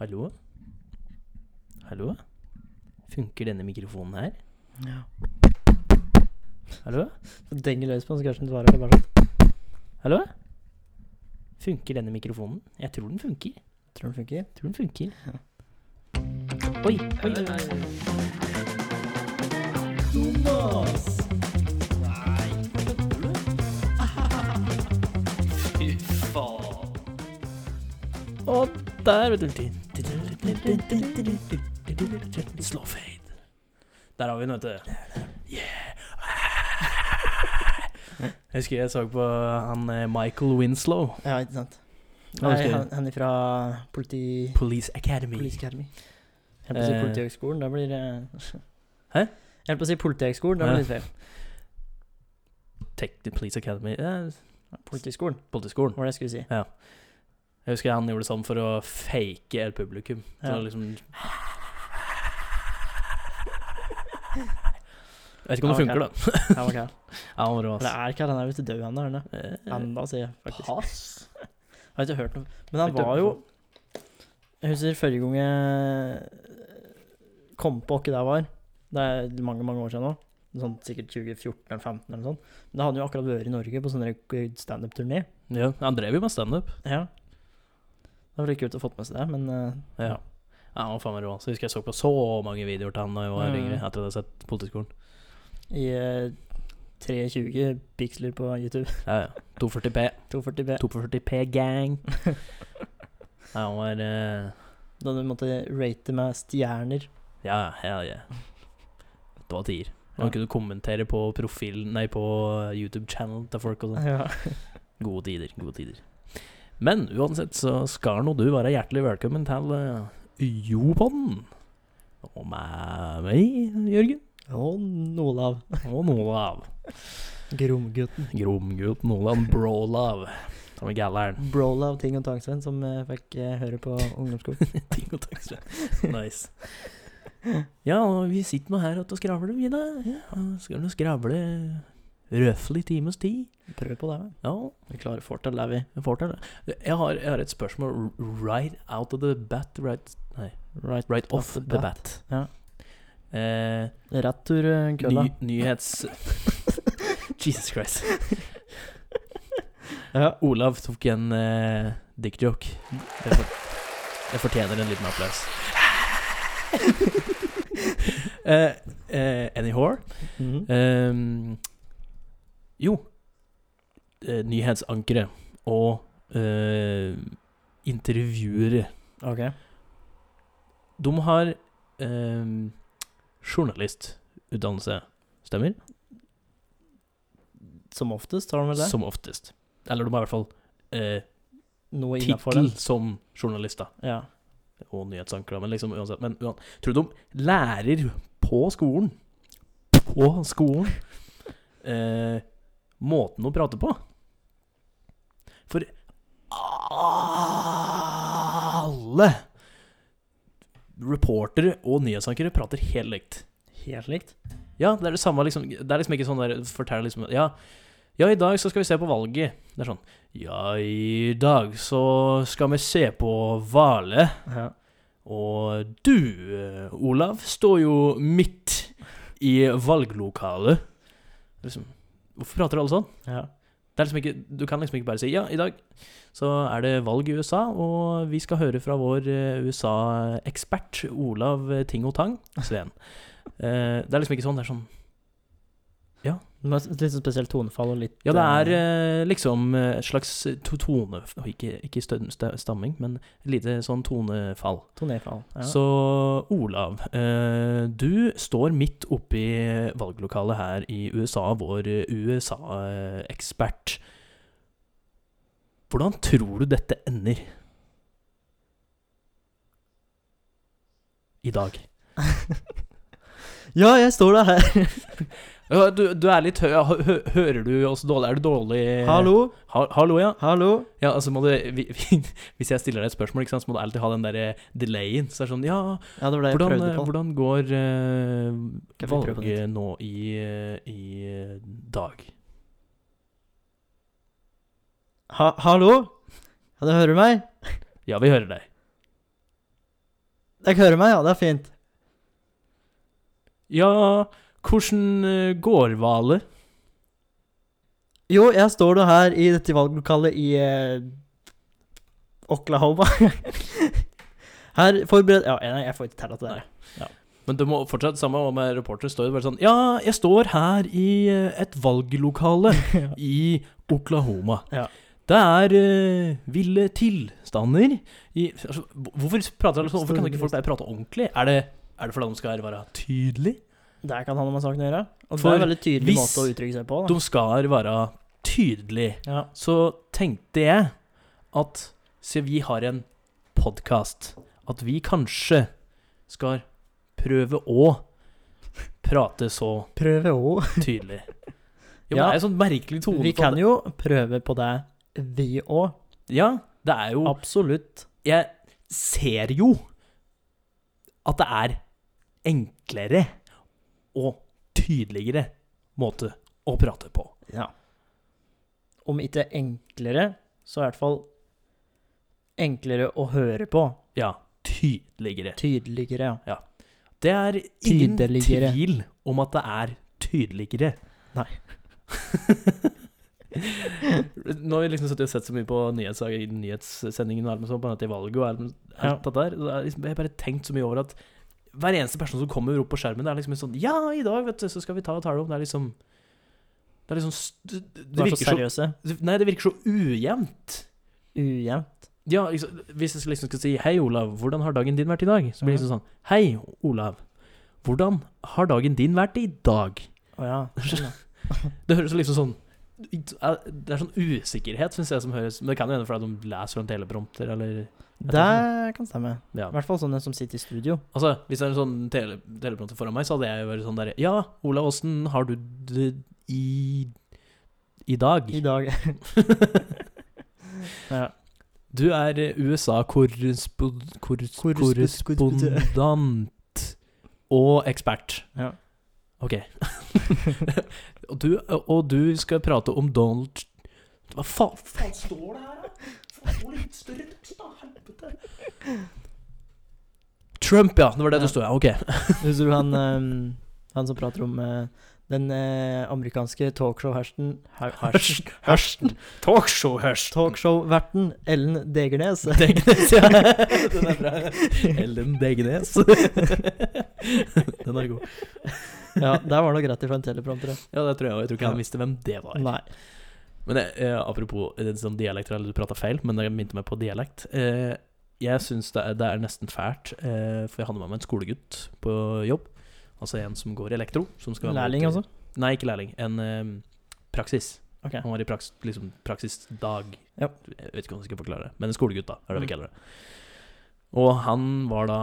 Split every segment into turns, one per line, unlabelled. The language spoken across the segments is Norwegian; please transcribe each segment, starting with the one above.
Hallo? Hallo? Funker denne mikrofonen her?
Ja.
Hallo?
Så denger løs på den, så kanskje den svarer. Det er bare sånn.
Hallo? Funker denne mikrofonen? Jeg tror den funker.
Tror den funker?
Jeg tror den funker. Oi, oi, oi, oi. Og der, vet du. Slow fade. Der har vi den, vet du. Yeah. Jeg husker jeg så på han eh, Michael Winslow.
Ja, ikke sant.
Hva
Nei,
husker du?
han, han er fra politi...
Police Academy.
Police Academy. Jeg holdt på å si
Eh.
Politihøgskolen, da blir det
Hæ?
Jeg holdt på å si Politihøgskolen, da
Ja.
blir det litt feil.
Tech, Police Academy eh,
Politiskolen,
Politiskolen.
var det jeg skulle si.
Jeg husker han gjorde sånn for å fake et publikum. Så
Ja.
liksom Jeg vet ikke om det funker, da.
Han var kald.
Ja, han var rå,
Men Det er kald, han er visst død, han der.
ass.
Enda, sier jeg
Eh,
faktisk.
Pass.
Jeg har ikke hørt noe. Men han
Har ikke hørt
var jo Jeg husker forrige gang jeg kom på hva det var. Det er mange mange år siden nå. Sånn, sikkert 2014 eller 2015 eller noe sånt. Men da hadde han jo akkurat vært i Norge på sånn der standup-turné.
Ja, han drev jo med standup.
Ja. Det var litt kult å fått med seg det, men eh,
Ja. Ja, han var faen meg rå. Så husker jeg så på så mange videoer til han da jeg var
Mm.
yngre. Etter at jeg hadde sett Politiskolen.
i eh, 23 piksler på YouTube.
Ja, ja. 240P.
240p.
240P gang. Ja, han var eh,
Da du måtte rate med stjerner.
Ja, ja, ja. Det var tier. Og
Ja.
han kunne kommentere på profilen Nei, på YouTube-channelen til folk og sånn.
Ja.
Gode tider, gode tider. Men uansett så skal nå du være hjertelig velkommen til eh, Jopodden. Og med meg, Jørgen.
Og Olav.
Og Olav.
Gromgutten.
Gromgutt Nolan Brolav. Som er gælleren.
Brolav Ting og Tangsvenn, som jeg fikk eh, høre på ungdomsskolen.
Ting og tang, så. Nice. Ja, og vi sitter nå her og skravler, vi da. Ja, og skal nå skravle røffelig times tid.
Prøv på det. da.
Ja,
Vi klarer fortell det, vi.
jeg får til det. Jeg har, jeg har et spørsmål r- right out of the bat, right,
Right,
right off the bat.
Ja.
Eh,
Rett tur eh, kølla.
ny, nyhets... Jesus Christ.
Ja.
Olav tok en eh, dickjoke. Det, for, det fortjener en liten applaus. Eh, eh, anyhow
Mhm.
ehm, Jo. Eh, nyhetsankere og eh, intervjuere.
Ok.
De har ehm, journalistutdannelse. Stemmer?
Som oftest har de vel det?
Som oftest. Eller de har i hvert fall eh,
Noe innafor
tittel
den.
som journalister.
Ja.
og nyhetsankere, men liksom uansett. Men uan- tror du de lærer på skolen På skolen eh, måten å prate på? For alle reportere og nyhetsankere prater helt likt.
Helt likt.
Ja, det er det samme liksom Det er liksom ikke sånn der Fortell liksom Ja, ja i dag så skal vi se på valget. Det er sånn Ja, i dag så skal vi se på Hvale.
Ja.
Og du, eh, Olav, står jo midt i valglokalet. Liksom, hvorfor prater alle sånn?
ja.
Det er liksom ikke, du kan liksom ikke bare si ja, i dag så er det valg i USA, og vi skal høre fra vår eh, USA-ekspert Olav Ting og Tang, Sveen. Eh, det er liksom ikke sånn. Det er sånn
Men et litt sånn spesielt tonefall og litt
Ja, det er
eh,
eh, liksom eh, et slags to tone... og Ikke, ikke stø- sta- stamming, men et lite sånn tonefall.
Tonefall. Ja.
Så Olav, eh, du står midt oppi valglokalet her i USA, vår USA-ekspert. Hvordan tror du dette ender? I dag.
ja, jeg står da her!
Ja, Du, du er litt høy. ja, hø- hø- Hører du oss dårlig? Er du dårlig
Hallo?
Ha, hallo, ja.
Hallo?
Ja, altså må du, vi, vi, Hvis jeg stiller deg et spørsmål, ikke sant, så må du alltid ha den der eh, delayen. Så det er sånn Ja,
Ja, det var det jeg
hvordan,
prøvde
eh,
på.
hvordan går eh,
Kan vi prøve på
valget nå i, eh, i eh, dag?
Ha hallo? Ja, du hører meg?
Ja, vi hører deg.
Dere hører meg, ja. Det er fint.
Ja, hvordan eh, går valet?
Jo, jeg står nå her i dette valglokalet i eh, Oklahoma. her forbered... Ja, nei, jeg får ikke telle til det.
Nei. Men du må fortsatt samme og med reporter står det bare sånn Ja, jeg står her i eh, et valglokale
Ja.
i Oklahoma.
Ja.
Det er eh, ville tilstander i altså, Hvorfor prater alle sånn? Hvorfor kan ikke folk bare prate ordentlig? Er det, er det fordi de skal være tydelige?
Der kan han ha med saken å gjøre. Og det
For
er en veldig tydelig
hvis
måte å uttrykke seg på. Da.
De skal være tydelige.
Ja.
Så tenkte jeg at Se, vi har en podkast. At vi kanskje skal prøve å prate så
Prøve òg.
tydelig. Jo,
Ja.
Det er en sånn merkelig tone.
Vi
på
kan
det.
jo prøve på det, vi òg.
Ja, det er jo
Absolutt.
Jeg ser jo at det er enklere og tydeligere måte å prate på.
Ja. Om ikke enklere, så i hvert fall enklere å høre på.
Ja, tydeligere.
Tydeligere, ja.
Det er ingen
Tydeligere.
tvil om at det er tydeligere.
Nei.
Nå har vi liksom sittet og sett så mye på nyhetssaker i nyhetssendingen og alt med sånt, på dette valget og alt,
Ja.
alt det der. og det er liksom- Jeg har bare tenkt så mye over at hver eneste person som kommer opp på skjermen, det er liksom en sånn Ja, i dag, vet du, så skal vi ta og tale om Det er liksom Det er liksom st- Det, det
Vær så
virker så,
seriøse.
Nei, det virker så ujevnt.
Ujevnt.
Ja, liksom, hvis jeg liksom skal si 'Hei, Olav, hvordan har dagen din vært i dag?' Så blir det liksom sånn 'Hei, Olav, hvordan har dagen din vært i dag?'
Å ja.
Det høres liksom sånn Det er sånn usikkerhet, syns jeg, som høres Men det kan jo hende fordi de leser fra en teleprompter, eller
Det kan stemme.
Ja.
I hvert fall sånne som sitter i studio.
Altså, hvis det er en sånn tele, teleprompter foran meg, så hadde jeg jo vært sånn derre Ja, Olav, åssen har du det i i dag?
I dag. ja.
Du er eh, USA-korrespondent
Korrespons-
og ekspert.
ja.
Ok. og, du, og du skal prate om Donald Tr- Hva faen, faen står det her, da? Få få litt større tekst, da. Helvete. Trump, ja. Det var det
Ja.
det sto, ja. Ok.
Husker du han, ehm, han som prater om eh, den eh, amerikanske talkshow-hersten her- hersten-
Hørsten. Talkshow-hørst.
Talkshow-verten Ellen Degernes.
Degnes, ja. Den er bra. Ellen Degnes. Den er god.
ja, der var det greit ifra en teleprompter. ja.
Ja, det tror jeg òg. Jeg tror ikke han visste hvem det var.
Nei.
Men eh, eh, apropos eh, sånn dialekter, eller du prata feil, men det minte meg på dialekt. Eh, jeg syns det, er- det er nesten fælt, eh, for jeg hadde med meg en skolegutt på jobb. Altså en som går i elektro. Som skal være med ut
Lærling,
i-
altså?
Nei, ikke lærling. En eh, praksis.
Ok.
Han var i praks, liksom, praksisdag.
Ja. Mm.
Jeg vet ikke om jeg skal forklare det. Men en skolegutt, da, er det vi kaller det. Og han var da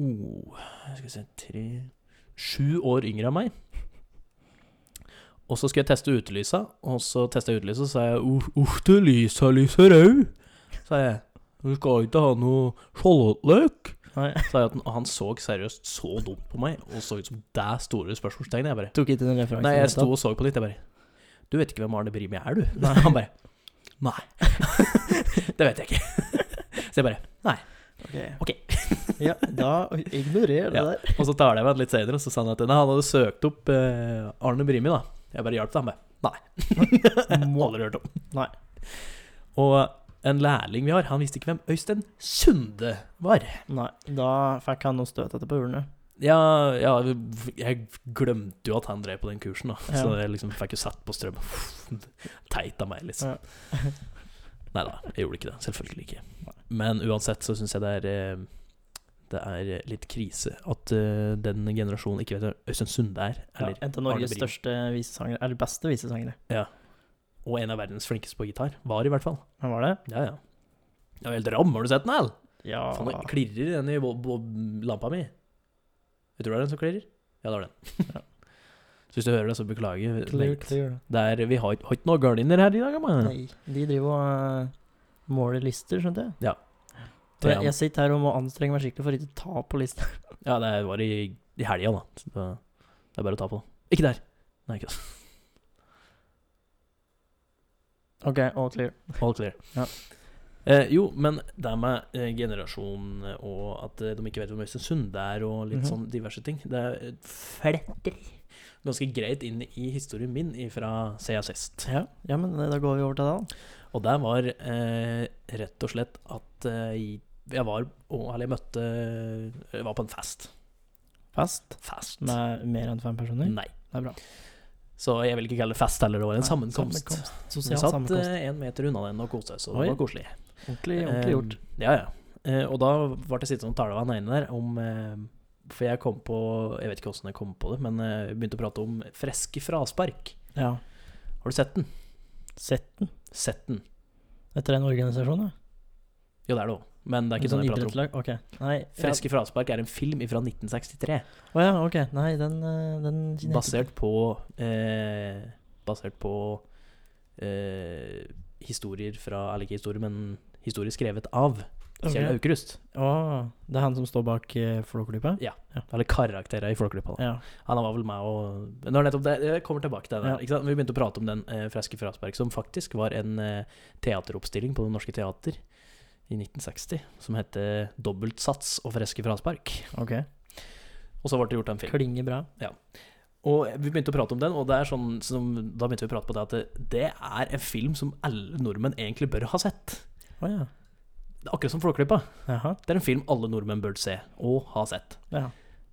oh, Skal vi se tre Sju år yngre enn meg. Og så skulle jeg teste utelysa, og så testa jeg utelysa, og så sa jeg «Uff, Uff, det lysa lyser rød, sa jeg. Du skal ikke ha noe sjalottløk?
Nei.
Sa jeg at han, og han så seriøst så dumt på meg, og så ut som det store spørsmålstegnet. Jeg bare
Tok ikke den referansen.
Nei, jeg
helt
sto
opp.
og så på litt, jeg bare Du vet ikke hvem Arne Brimi er, du?
Nei.
Han bare Nei. det vet jeg ikke. Så jeg bare Ok.
ja, da ignorer det
Ja.
der.
Og så tar jeg meg litt senere, og så sa han at nei, han hadde søkt opp eh, Arne Brimi, da. Jeg bare hjalp det, han bare Nei. Må aldri hørt om.
Nei.
Og en lærling vi har, han visste ikke hvem Øystein Sunde var.
Nei, da fikk han noe støt etterpå hjulene.
Ja, ja, jeg glemte jo at han drev på den kursen, da. Så
Ja.
jeg liksom fikk jo satt på strøm. Teit av meg, liksom. Nei da, jeg gjorde ikke det. Selvfølgelig ikke. Men uansett så syns jeg det er eh, Det er litt krise at eh, den generasjonen ikke vet hvem Øystein Sunde er,
Ja,
eller,
en av
Arne
Norges
Brimi.
største visesangere, eller beste visesangere.
og en av verdens flinkeste på gitar. Var, i hvert fall.
Men var det?
Ja, ja. Ja, helt ram, har du sett den, El?
Ja.
Faen, det klirrer den i bo- bo- lampa mi. Vet du hva det er den som klirrer? Ja, det var den.
Ja.
Så hvis du hører det, så beklager.
Clear,
Bengt.
clear.
Det er, vi har ikke har ikke noen gardiner her i dag, mann.
Nei, de driver og eh, måler lister, skjønte jeg.
Ja.
Og Jeg, jeg sitter her og må anstrenge meg skikkelig for ikke å ta på lista.
Ja, det var i, i helga, da. Så det, det er bare å ta på. Ikke der! Nei, ikke altså.
OK, all clear.
All clear.
Ja.
Eh, jo, men det med eh, generasjon og at eh, de ikke vet hvor Øystensund er, og litt
Mhm.
sånn diverse ting, det er eh, fletter ganske greit inn i historien min fra jeg sist.
Ja, ja, men eh, da går vi over til det, da.
Og det var eh, rett og slett at eh, jeg var og- Eller jeg møtte Jeg var på en fest.
Fest
Fest.
med mer enn fem personer.
Nei.
Det er bra.
Så jeg vil ikke kalle det fest heller, det var en sammenkomst. Vi
Sosial
satt
sammenkomst.
eh, en meter unna den og koste oss, og
Oi.
det var koselig.
Ordentlig, ordentlig gjort.
Eh, ja, ja. Eh, og da ble jeg sittende og tale med han ene der om eh, For jeg kom på Jeg vet ikke åssen jeg kom på det, men eh, jeg begynte å prate om freske fraspark.
Ja.
Har du sett den?
Setten.
Sett den.
Dette er en organisasjon, ja?
Jo, det er det òg, men det er ikke
Sånn
sånn jeg prater om.
idrettslag? Ok. Nei. ja.
Freske fraspark er en film fra 1963,
Å ja, ok. Nei, den, eh, den kjenner jeg
basert på eh, Basert på eh, historier fra Eller ikke historier, men historier skrevet av
ikke.
Kjell
Ok.
Aukrust.
Å, det er han som står bak eh, Flåklypa?
Eller karakterer i Flåklypa. da.
Ja.
Han var vel med og Når nettopp det, Jeg kommer tilbake til det.
Ja.
Ikke sant? Vi begynte å prate om den eh, Freske Frasberg, som faktisk var en eh, teateroppstilling på Det Norske Teater i 1960, som heter 'Dobbeltsats og Freske Fraspark'.
Ok.
Og så ble det gjort en film.
Klinger bra.
Og vi begynte å prate om den, og det er sånn som, da begynte vi å prate på det at det, det er en film som alle nordmenn egentlig bør ha sett.
Å ja.
Det er akkurat som Flåklypa.
Jaha.
Det er en film alle nordmenn bør se, og ha sett.
Ja.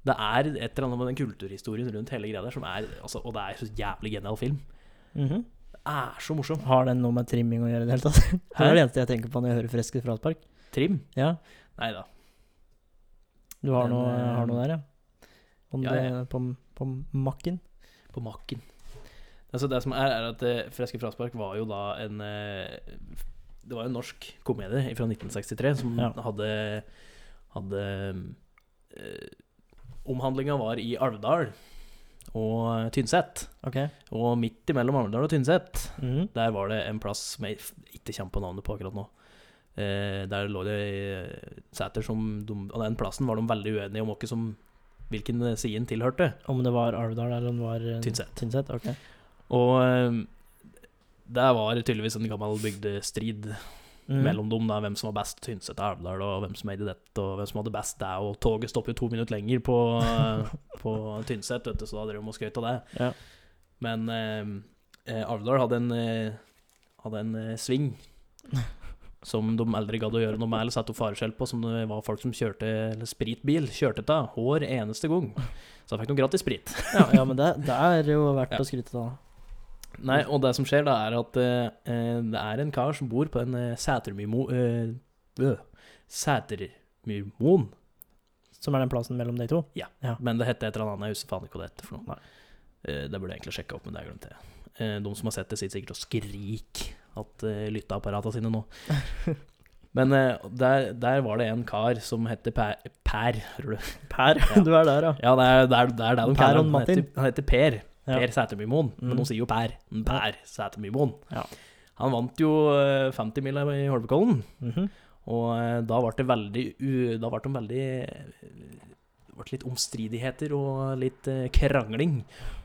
Det er et eller annet med den kulturhistorien rundt hele greia der som er altså, Og det er så jævlig genial film.
Mhm.
Det er så morsom.
Har den noe med trimming å gjøre i det hele tatt? Det
Hæ?
er det eneste jeg tenker på når jeg hører Freske fraspark.
Trim?
Ja.
Nei da.
Du har,
Den,
noe,
eh,
har noe der, ja? Om
ja,
det på, på makken?
På makken. Altså, det som er, er at eh, Freske fraspark var jo da en eh, Det var en norsk komedie fra 1963 som
Ja.
hadde Hadde eh, Omhandlinga var i Alvdal og Tynset.
Ok.
Og midt imellom Alvdal og Tynset
Mhm.
Der var det en plass som jeg f- ikke kommer på navnet på akkurat nå. Eh, der lå det eh, seter som de, Og den plassen var de veldig uenige om hvem som, hvilken side den tilhørte.
Om det var Alvdal eller om det var eh,
Tynset.
Tynset, ok.
Og eh, det var tydeligvis en gammel bygdestrid
Mhm.
mellom dem. Da, hvem som var best Tynset og Alvdal, og hvem som eide dette, og hvem som hadde best det. Og toget stopper jo to minutter lenger på, eh, på Tynset, vet du, så da drev de og skrøt av det.
Ja.
Men eh, eh, Alvdal hadde en, eh, hadde en eh, sving som de aldri gadd å gjøre noe med eller satte opp fareskjell på, som det var folk som kjørte eller spritbil, kjørte av hver eneste gang. Så da fikk de gratis sprit.
ja, ja, men det, det er jo verdt
Ja.
å skryte av.
Nei, og det som skjer da, er at eh, eh, det er en kar som bor på en eh, Sætermyrmo... Eh, øh, Sætermyrmoen,
Som er den plassen mellom de to.
men det heter et eller annet, jeg husker faen ikke hva det heter for noe.
Nei.
Eh, det burde jeg egentlig sjekke opp, men det har jeg glemt. det. Eh, de som har sett det, sitter sikkert og skriker at eh, lytteapparatene sine nå. Men eh, der, der var det en kar som heter Per, per tror du?
Per,
Ja.
du er der, ja.
Ja, det er det, er, det, er det de
Per
kaller
og
han. Han
Martin.
heter, han heter Per.
Ja.
Per Sætermyrmoen.
Mm.
Men de sier jo Per. Per Sætermyrmoen.
Ja.
Han vant jo eh, 50-mila i Holmenkollen,
Mhm.
og eh, da ble det veldig u- Da ble det veldig eh, det ble litt omstridigheter og litt eh, krangling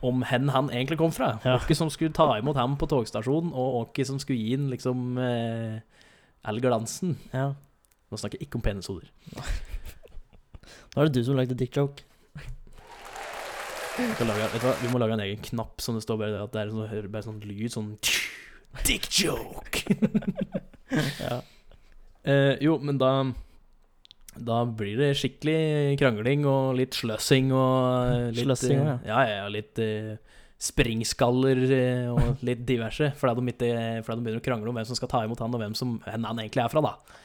om hen han egentlig kom fra.
Ja.
Hvem som skulle ta imot ham på togstasjonen, og hvem som skulle gi ham liksom eh, all glansen.
ja.
Nå snakker jeg ikke om penishoder.
Nå er det du som lagde dick joke.
Vi skal lage, vet du hva, vi må lage en egen knapp som det står bare at det er sånn, hører bare sånn lyd, sånn Dick joke!
Ja.
eh, jo, men da da blir det skikkelig krangling og litt sløssing og eh, litt,
Sløssing,
eh,
ja.
ja. Ja, ja, litt eh, springskaller eh, og litt diverse. Fordi de, ikke, fordi de begynner å krangle om hvem som skal ta imot han, og hvem som, hen han egentlig er fra, da.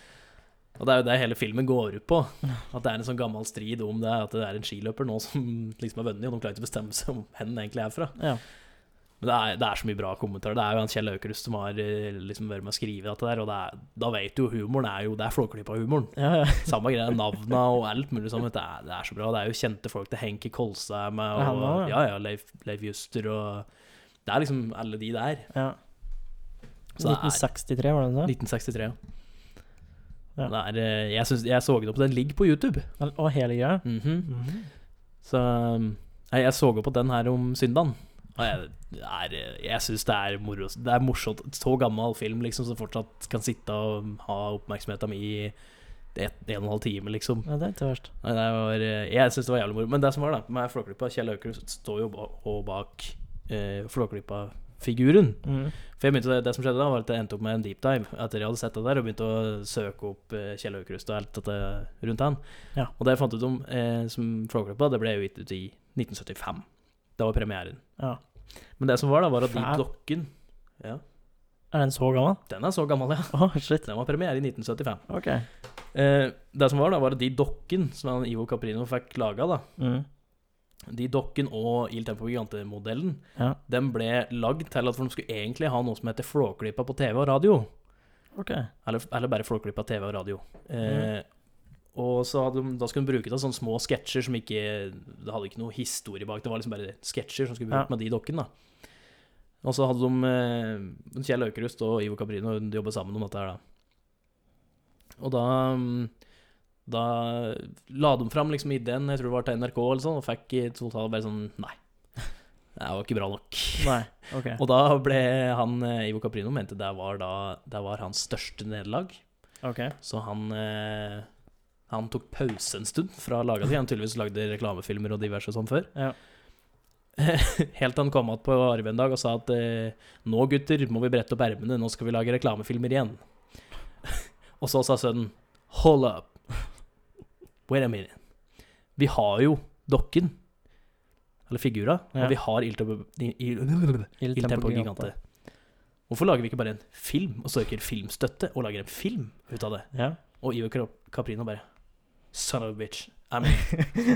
Og det er jo det hele filmen går ut på. At det er en sånn gammel strid om det, at det er en skiløper nå som liksom har vunnet, og de klarer ikke å bestemme seg om hen han egentlig er fra.
Ja.
Men det er, det er så mye bra kommentarer. Det er jo han Kjell Aukrust som har eh, liksom vært med å skrive dette der, og det er, da vet du jo humoren er jo Det er Flåklypa-humoren.
Ja, ja.
Samme greia, navna og alt mulig sånt. Det er, det er så bra. Det er jo kjente folk det Henki Kolstad er med,
Ja, han
og
også, ja.
ja, ja, Leif, Leif Juster og Det er liksom alle de der.
ja.
Så det er
1963, var det det?
1963, ja.
Ja.
Det er, eh, jeg, synes, jeg så det opp, den ligger på YouTube.
sa? Og hele greia?
Mhm.
Mhm.
Så um, nei, jeg så opp på den her om søndagen, Og jeg, det er, jeg syns det er moro. Det er morsomt. Så gammel film liksom, som fortsatt kan sitte og ha oppmerksomheten min i et, en og en halv time, liksom.
Ja, det er ikke verst.
Nei, det var, eh, jeg syns det var jævlig moro. Men det som var da med Flåklypa Kjell Aukrust står jo ba- og bak eh, Flåklypa-figuren.
Mm.
For jeg begynte, det, det som skjedde da, var at jeg endte opp med en deep dive etter jeg hadde sett det der, og begynte å søke opp eh, Kjell Aukrust og alt dette rundt han.
Ja.
Og det jeg fant ut om eh, som Flåklypa, det ble jo gitt ut i 1975. Da var premieren.
Ja.
Men det som var, da, var at de
Fæl.
blokken ja,
Er den så gammel?
Den er så gammel, ja.
Å, shit.
Den var premiere i 1975.
Ok.
Eh, det som var, da, var at de dokken som han Ivo Caprino fikk laga, da,
Mm.
de dokken og Il Tempo Gigante-modellen,
Ja.
den ble lagd til at de skulle egentlig ha noe som heter Flåklypa på TV og radio.
Ok.
Eller, eller bare Flåklypa TV og radio.
Mhm.
Eh, Og så hadde de, da skulle de bruke det sånne små sketsjer som ikke Det hadde ikke noe historie bak. Det var liksom bare sketsjer som skulle
Ja.
brukt med de dokkene. da. Og så hadde de eh, Kjell Aukrust og Ivo Caprino de jobbet sammen om dette her, da. Og da mm, da la de fram liksom ideen, jeg tror det var til NRK, eller sånn, og fikk i totalt bare sånn Nei. Det var ikke bra nok.
Nei. Ok.
Og da ble han eh, Ivo Caprino mente det var da det var hans største nederlag.
Ok.
Så han eh, Han tok pause en stund fra laga si. Han tydeligvis lagde reklamefilmer og diverse sånn før.
Ja.
Helt til han kom igjen på Arve en dag og sa at eh, nå, gutter, må vi brette opp ermene. Nå skal vi lage reklamefilmer igjen. og så sa sønnen Hold up. Wait a minute. Vi har jo dokken. Eller figura.
Ja.
Og vi har Il Tempo- Il-
Il
Il Tempo Gigante. Hvorfor lager vi ikke bare en film og søker filmstøtte og lager en film ut av det?
Ja.
Og Ivo Cap- Caprino bare Son of a bitch. I'm in.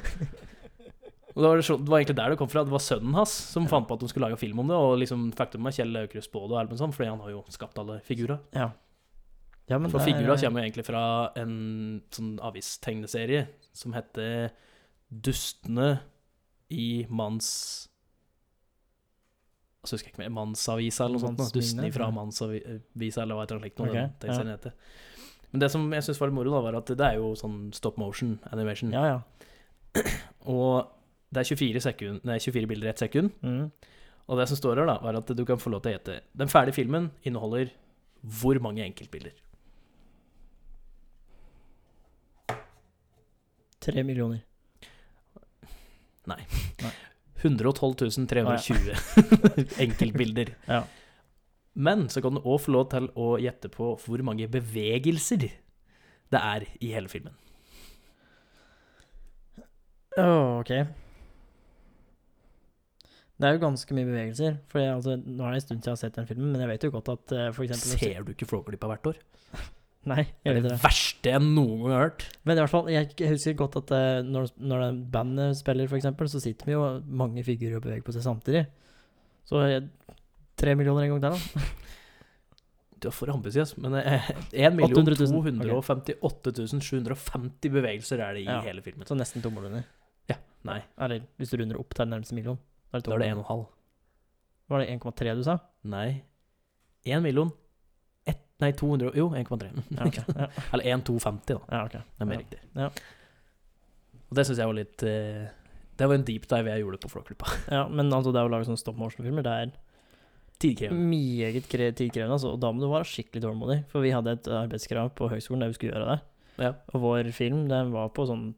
Og det, var så, det var egentlig der det kom fra. Det var sønnen hans som fant på at de skulle lage film om det. Og liksom fikk det med Kjell Aukrust på det, og alt mulig sånn, fordi han har jo skapt alle figurer.
Ja. ja men
For
det er-
figura kommer jo egentlig fra en sånn avistegneserie som heter Dustene i manns Altså, husker jeg ikke mer, Mannsavisa eller noe sånt. nå.
Mannsminne,
Dustene fra
tror jeg.
Mannsavisa eller hva et eller annet slikt. noe
Ok,
den tegneserien heter. Men det som jeg syns var litt moro, da, var at det er jo sånn stop motion animation.
Ja, ja.
Og det er 24, sekund, nei, 24 bilder i ett sekund.
Mm.
Og det som står her, da, er at du kan få lov til å hete Den ferdige filmen inneholder hvor mange enkeltbilder?
Tre millioner.
112 320 enkeltbilder.
Ja.
Men så kan du òg få lov til å gjette på hvor mange bevegelser det er i hele filmen.
Åh, ok. Det er jo ganske mye bevegelser. For jeg, altså, nå er det en stund siden jeg har sett den filmen, men jeg vet jo godt at eh, for eksempel
Ser du ikke Flåklypa hvert år?
Nei,
Det
jeg
er
vet
det
det.
verste jeg noen gang har hørt.
Men i hvert fall, jeg husker godt at eh, når, når det bandet spiller, for eksempel, så sitter vi jo mange figurer og beveger på seg samtidig. Så eh, tre millioner en gang der, da.
Du er for ambisiøs, men eh, 1
800 000.
258 750 bevegelser er det i
Ja.
hele filmen.
Så nesten to millioner.
Ja, nei.
Eller hvis du runder opp til den nærmeste million. Da
Da er det 1,5.
Var det 1,3 du sa?
Nei. 1 million ett- Nei, 200 Jo, 1,3.
Ja, ok. Ja,
Eller 1,250, da.
ja, ok.
Det er mer
Ja.
riktig.
Ja.
Og det syns jeg var litt eh, Det var en deep dive jeg gjorde på Flåklypa.
ja, men altså, det å lage sånne stop motion-filmer, det er
Tidkrevende.
meget kre- tidkrevende, altså, og da må du være skikkelig tålmodig. For vi hadde et arbeidskrav på høgskolen der vi skulle gjøre det.
Ja.
Og vår film, den var på sånn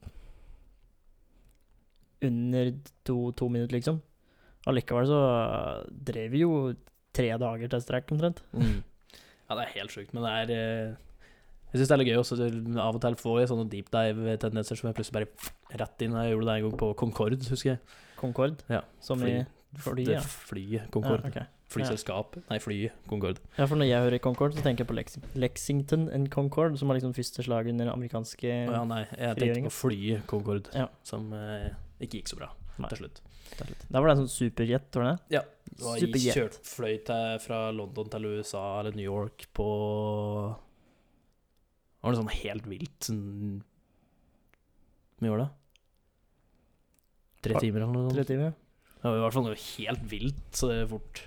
under to, to minutter, liksom. Allikevel så eh, drev vi jo tre dager til strekk, omtrent.
Mm. Ja, det er helt sjukt, men det er eh, Jeg syns det er litt gøy også. så Av og til får jeg sånne deep dive-tendenser som jeg plutselig bare rett inn. Jeg gjorde det en gang på Concorde, husker jeg.
Concorde,
Ja,
som
fly.
i fly,
det
ja.
flyet Concorde.
Ja, ok.
Flyselskapet. Nei, flyet Concorde.
ja, for når jeg hører Concorde, så tenker jeg på Lexi- Lexington and Concorde, som var liksom første slag under den amerikanske
Å ja, nei, jeg tenkte
Frigjøringen.
på flyet Concorde,
Ja.
som eh, ikke gikk så bra
Nei.
til slutt.
Der var det en sånn superjet, var det det?
Det var
Superjet.
kjørt fløy til, fra London til USA eller New York på Det var noe sånn helt vilt sånn Hvor mye var det? Tre
Par-
timer eller noe
Tre
sånt?
timer, ja.
Det var i hvert fall noe helt vilt så det er fort.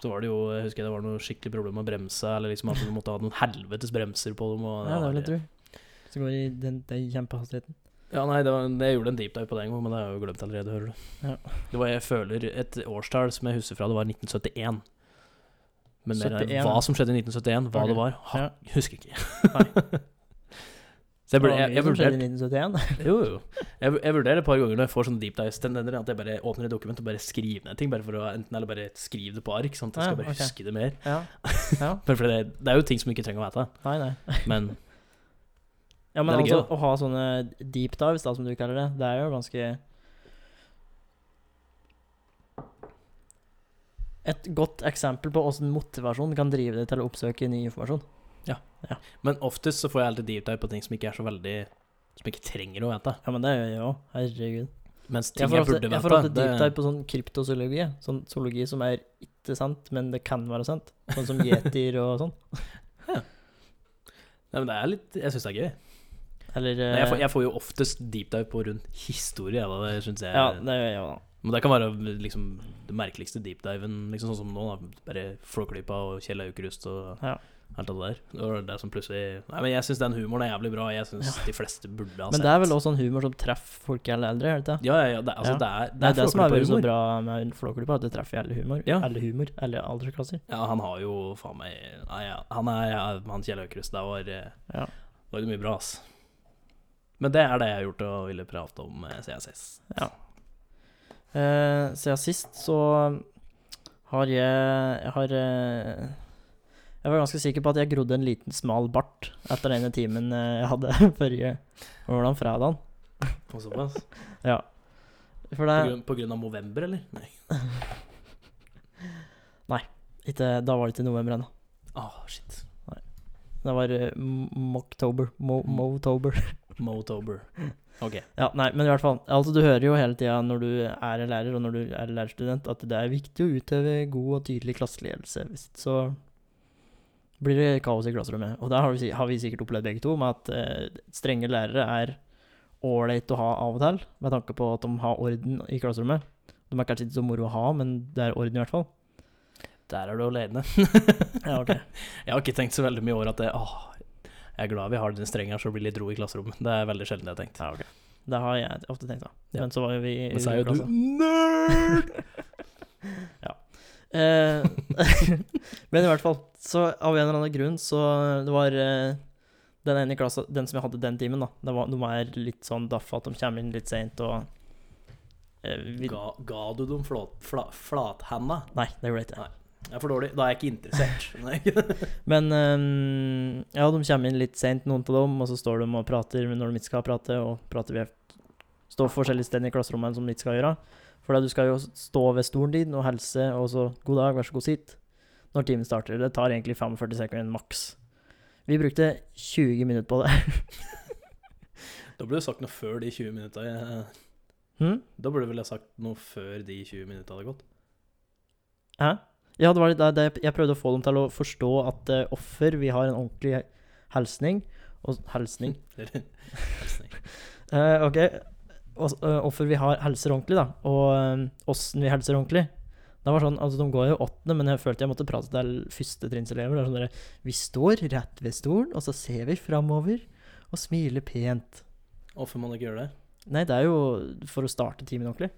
Så var det jo, jeg husker det var noe skikkelig problem med bremsa, eller liksom at du måtte ha noen helvetes bremser på dem. Og
Ja, det var litt du. Så går det i den, den kjempehastigheten.
Ja, nei, det var, jeg gjorde en deep dive på det en gang, men det har jeg jo glemt allerede, hører du.
Ja.
Det var, jeg føler, et årstall som jeg husker fra, det var 1971. Men mer,
71,
hva
ja.
som skjedde i 1971, hva
Ok.
det var, ha,
Ja.
husker ikke.
Nei.
Så jeg,
Det
burde,
var
jeg,
mye
jeg,
som skjedde
vurderer,
i 1971.
jo, jo. Jeg, jeg vurderer et par ganger når jeg får sånne deep dive-tendenser, at jeg bare åpner et dokument og bare skriver ned ting, bare for å enten eller bare skrive det på ark, sånn at jeg
Ja,
skal bare
ok.
huske det mer.
Ja. ja.
Bare fordi det, det er jo ting som ikke trenger å vite,
Nei, nei.
men
Ja, men
Det er
altså,
gøy,
å ha sånne deep dives, da, som du kaller det, det er jo ganske Et godt eksempel på åssen motivasjon kan drive deg til å oppsøke ny informasjon.
Men oftest så får jeg alltid deep dive på ting som ikke er så veldig Som ikke trenger å vite.
Ja, men det gjør jeg òg. Herregud.
Mens ting
Jeg
jeg,
får ofte,
burde
jeg får ofte
vite
deep dive på sånn kryptozoologi. Sånn zoologi som er ikke sant, men det kan være sant. Sånn som yetier og sånn.
Nei, men det er litt Jeg syns det er gøy.
Eller
Nei, jeg, får,
eh,
jeg får jo oftest deep dive på rundt historie, da. Det synes jeg
Ja, det gjør jeg òg, da.
Men det kan være liksom det merkeligste deep diven, liksom sånn som nå, da. Bare Flåklypa og Kjell Aukrust og
Ja.
alt det der. Det var det som plutselig Nei, men jeg syns den humoren er jævlig bra. Jeg syns de fleste burde ha
Men det er vel også sånn humor som treffer folk i alle eldre, er det ikke? det?
Ja, ja, ja. Det, er- altså,
Ja.
det er,
Det er det som er veldig så
Flåklypa-humor.
bra med Flåklypa, at det treffer i alle humor.
Ja.
Alle humor, alle aldersklasser.
Ja, han har jo faen meg Nei, ja, han er ja, han Kjell Aukrust. Der var eh,
Ja.
var det mye bra, ass. Men det er det jeg har gjort og ville prate om eh, CSS.
Eh, siden sist så har jeg Jeg har eh, Jeg var ganske sikker på at jeg grodde en liten smal bart etter den ene timen eh, jeg hadde forrige Hvordan fredagen?
Og såpass.
Ja. For
På
det
grunn, på grunn av november, eller? Nei.
ikke, Da var det ikke november ennå.
Ah, shit.
Det var eh, m- Mocktober. Mo Motober.
Motober. Ok.
Ja, nei, men i hvert fall. Altså, du hører jo hele tida når du er en lærer, og når du er lærerstudent, at det er viktig å utøve god og tydelig klasseledelse. Hvis ikke så blir det kaos i klasserommet. Og det har vi, si- har vi sikkert opplevd begge to, med at eh, strenge lærere er ålreit å ha av og til, med tanke på at de har orden i klasserommet. De er kanskje ikke så moro å ha, men det er orden i hvert fall.
Der er du alene.
Ja, ok.
Jeg har ikke tenkt så veldig mye i år at det, åh, jeg er glad vi har den strengen her, så det blir litt ro i klasserommet. Det er veldig sjelden jeg har tenkt.
Det har jeg ofte tenkt, da.
Ja.
Men så var jo vi i
Men så er jo
klasse.
du nerd!
Eh, men i hvert fall, så av en eller annen grunn, så det var eh, den ene i klassen, den som jeg hadde den timen, da, det var, de er litt sånn daffa at de kommer inn litt seint og eh, vi,
Ga, ga du dem flåt, fla, flathanda?
Nei, det gjorde jeg ikke.
Nei. Jeg er for dårlig. Da er jeg ikke interessert. Nei.
Men eh, ja, de kommer inn litt seint, noen av dem, og så står de og prater når de ikke skal prate, og prater ved Står forskjellige steder i klasserommet som de ikke skal gjøre. For du skal jo stå ved stolen din og helse, og så 'god dag, vær så god, sitt' når timen starter. Det tar egentlig 45 sekunder maks. Vi brukte 20 minutter på det.
Da burde du sagt noe før de 20 minuttene.
Hm?
Da burde du vel ha sagt noe før de 20 minuttene hadde gått.
Hæ? Ja, det var litt det, det jeg prøvde å få dem til å forstå at eh, offer, vi har en ordentlig hilsning. Og hilsning
Eller- Hilsning.
Eh, ok. Og, eh, hvorfor vi har helser ordentlig, da. Og ehm, åssen vi helser ordentlig. Det var sånn, altså De går jo åttende, men jeg følte jeg måtte prate til førstetrinnselever. Det er sånn der, Vi står rett ved stolen, og så ser vi framover og smiler pent.
Hvorfor må man ikke gjøre det?
Nei, det er jo for å starte timen ordentlig.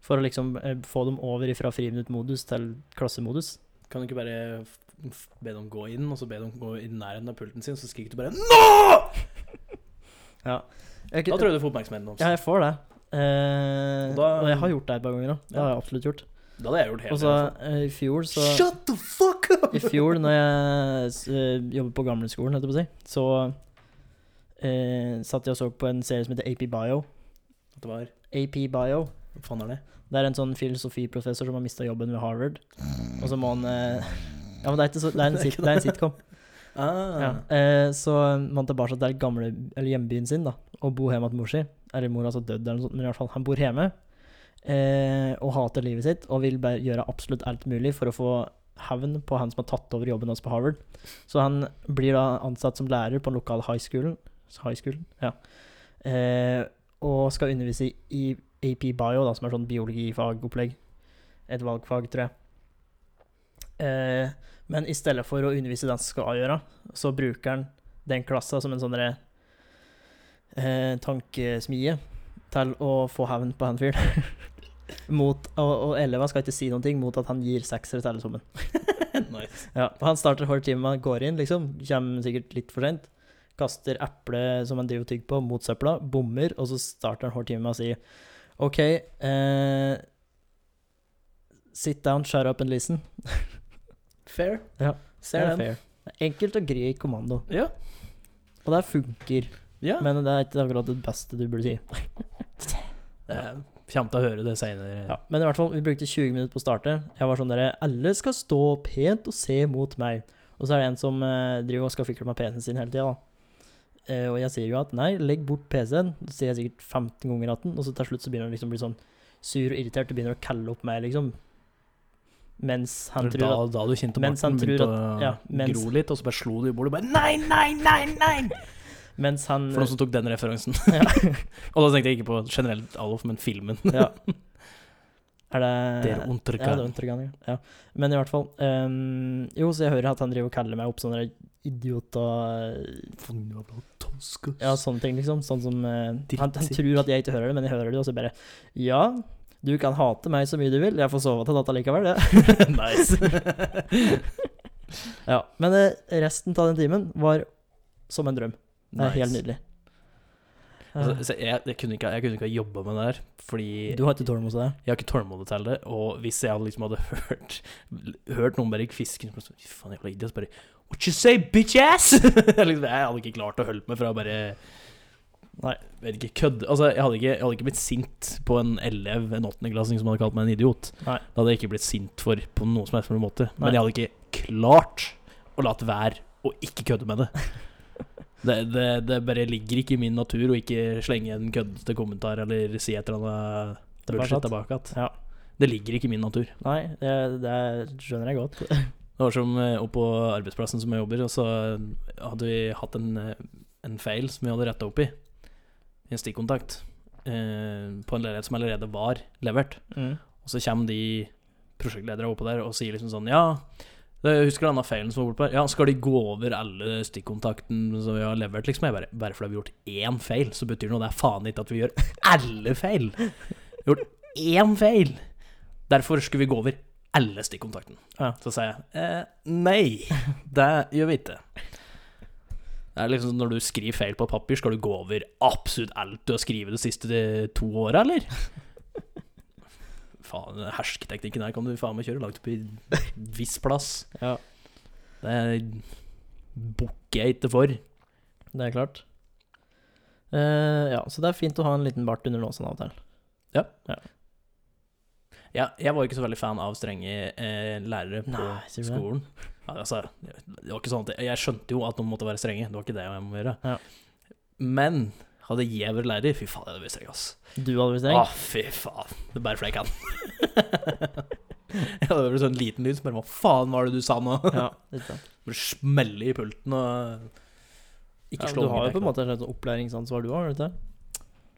For å liksom eh, få dem over fra friminuttmodus til klassemodus.
Kan du ikke bare f- f- be dem gå inn, og så be dem gå i nærheten av pulten sin, så skriker du bare NÅ!
Ja.
Da tror jeg du får oppmerksomheten deres.
Ja, jeg får det. Eh,
Da-
og jeg har gjort det et par ganger òg. Det
Ja.
har jeg absolutt gjort.
Det hadde jeg gjort
Og
helt
så
enig.
eh, i fjor så
Shut the fuck up!
I fjor, når jeg uh, jobbet på gamleskolen, holdt jeg på å si, så eh, satt jeg og så på en serie som heter AP Bio.
Det var,
AP Bio.
hva faen er det?
Det er en sånn filosofiprofessor som har mista jobben ved Harvard. Og så må han eh, Ja, men det er, ikke så, det er, en, sit, det er en sitcom.
Ah,
Ja. Eh, så må han tilbake til gamle, eller hjembyen sin da, og bo hjemme hos mor si. Eller mor altså død, eller noe sånt, men i hvert fall, han bor hjemme eh, og hater livet sitt og vil bare gjøre absolutt alt mulig for å få hevn på han som har tatt over jobben hans på Harvard. Så han blir da ansatt som lærer på den lokale high schoolen, high schoolen ja. eh, og skal undervise i AP Bio, da, som er sånn biologifagopplegg. Et valgfag, tror jeg. Eh, men i stedet for å undervise den som skal gjøre, så bruker han den klassa som en sånn derre eh, tankesmie til å få hevn på han fyren. mot, og, og elevene skal ikke si noen ting mot at han gir seksere til alle sammen.
nice.
Ja, og han starter hver time han går inn, liksom. Kommer sikkert litt for sent. Kaster eple som han driver og tygger på, mot søpla. Bommer, og så starter han hver time med å si OK eh, Sit down, shut up and listen.
Fair.
Ja, Det
Ser
er
den.
fair. Det er Enkelt og grei kommando.
Ja.
Og det funker,
ja.
men det er ikke akkurat det beste du burde si.
Jeg kommer til å høre det seinere.
Ja, men i hvert fall, vi brukte 20 minutter på å starte. Jeg var sånn derre Alle skal stå pent og se mot meg. Og så er det en som eh, driver og skal fikle med PC-en sin hele tida, da. Eh, og jeg sier jo at nei, legg bort PC-en. Det sier jeg sikkert 15 ganger at den, og så til slutt så begynner han liksom å bli sånn sur og irritert og begynner å kalle opp meg, liksom. Mens han
Det var
tror at
da, da du kjente
mens han
Morten begynte
tror
å
ja, mens-
gro litt, og så bare slo du i bordet bare Nei, nei, nei, nei!
Mens han
For noen som tok den referansen.
Ja.
og da tenkte jeg ikke på generelt Alof, men filmen.
ja. Er det
Der
Ja, det er
untergang.
undergang, ja. ja. Men i hvert fall ehm, Jo, så jeg hører at han driver og kaller meg opp sånne idioter eh, Ja, sånne ting, liksom. Sånn som eh, han, han
Drittsikker.
tror at jeg ikke hører det, men jeg hører det, og så bare Ja, du kan hate meg så mye du vil, jeg får sove til natta likevel, det.
nice.
Ja. Men eh, resten av den timen var som en drøm. Det er helt nydelig.
Altså, så jeg, jeg kunne ikke, jeg kunne ikke ha jobba med det her, fordi
du har ikke tålmodighet til det?
jeg har ikke tålmodighet til det. Og hvis jeg hadde liksom hadde hørt Hørt noen bare fiske så bare sånn, Fy faen, jævla idiot. så Bare What you say, bitch ass? liksom, jeg hadde ikke klart å holde meg fra å bare Nei, vet ikke, kødd Altså, jeg hadde ikke, jeg hadde ikke blitt sint på en elev, en åttendeklassing, som hadde kalt meg en idiot.
Nei.
Det hadde jeg ikke blitt sint for på noen som helst mulig måte.
Nei.
Men jeg hadde ikke klart å latt være å ikke kødde med det. Det, det, det bare ligger ikke i min natur å ikke slenge en køddete kommentar eller si et eller annet
Det er bare
bullshit
sant.
tilbake igjen.
Ja.
Det ligger ikke i min natur.
Nei, det, det skjønner jeg godt.
Det var som eh, oppe på arbeidsplassen som jeg jobber, og så eh, hadde vi hatt en, eh, en feil som vi hadde retta opp i. I en stikkontakt. Eh, på en leilighet som allerede var levert.
Mm.
Og så kommer de prosjektlederne oppå der og sier liksom sånn Ja, jeg husker denne feilen som var borte her. Ja, skal de gå over alle stikkontakten som vi har levert, liksom? Jeg bare, bare fordi vi har gjort én feil, så betyr det noe. Det er faen ikke at vi gjør alle feil. Vi har gjort én feil. Derfor skulle vi gå over alle stikkontakten.
Ja.
Så sier jeg eh, nei, det gjør vi ikke. Det er liksom Når du skriver feil på papir, skal du gå over absolutt alt du har skrevet de siste eh, to åra, eller? Faen, den hersketeknikken her kan du faen meg kjøre langt opp i viss plass.
Ja,
Det bukker jeg ikke for.
det er klart. Eh, ja, så det er fint å ha en liten bart under nåsen av og til.
Ja, jeg var ikke så veldig fan av strenge eh, lærere på
Nei, sier du det?
skolen. Ja, altså, det var ikke sånn at jeg, jeg skjønte jo at de måtte være strenge, det var ikke det jeg må gjøre.
Ja.
Men hadde jeg vært lærer, fy faen, jeg hadde vært streng, ass.
Du hadde blitt
Å,
streng?
fy faen. Det er bare fordi jeg kan. jeg hadde vært sånn liten lyd som bare Hva faen var det du sa nå?
Ja, litt sånn.
Bare smelle i pulten og ikke
ja,
slå
du har jo
unger,
på
ikke
en
sant?
måte et slags opplæringsansvar du har, har du ikke det?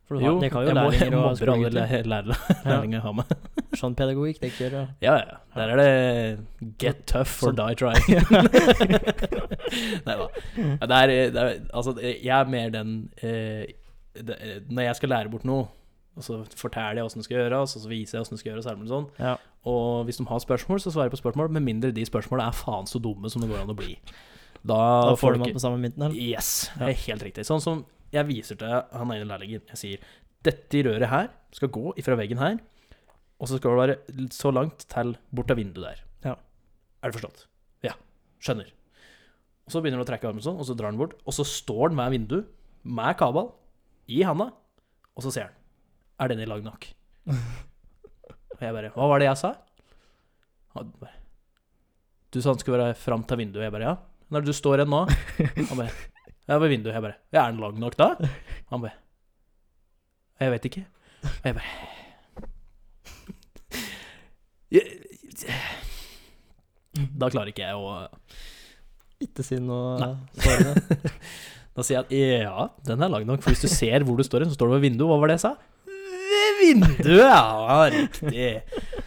For du har,
Jo,
dere har jo
jeg må- jeg
lærlinger og
mobber alle
skolegutter.
læ- lærere lærlinger jeg har med.
Sånn pedagogikk, det ikke gjør det.
Ja, ja. Der er det 'get tough or
Sånn.
die trying'. Nei da. Det er, det er, altså, jeg er mer den eh, det, eh, Når jeg skal lære bort noe, og så forteller jeg åssen det skal gjøres, og så viser jeg åssen det skal gjøres, og sånn.
Ja.
Og hvis de har spørsmål, så svarer jeg på spørsmål, med mindre de spørsmålene er faen så dumme som det går an å bli. Da,
Da får
folk-
du meg på samme mynten, eller?
Yes,
Ja.
det er helt riktig. Sånn som jeg viser til han ene lærlingen. Jeg sier dette røret her skal gå ifra veggen her, og så skal det være l- så langt til bort av vinduet der.
Ja.
Er det forstått? Ja. Skjønner. Og så begynner han å trekke armen sånn, og så drar han bort, og så står han med vindu, med kabel, i handa, og så ser han. Er den i lag nok? Og jeg bare Hva var det jeg sa? Han bare Du sa han skulle være fram til vinduet, og jeg bare ja. Når du står igjen nå? Han bare Jeg er ved vinduet. Jeg bare Ja, er den lang nok da? Han bare Jeg vet ikke. Og jeg bare Jeg- Da klarer ikke jeg å
Ikke si noe svarende.
Da sier jeg at ja, den er lang nok, for hvis du ser hvor du står hen, så står du ved vinduet. Hva var det jeg sa? Ved vinduet, ja! Riktig.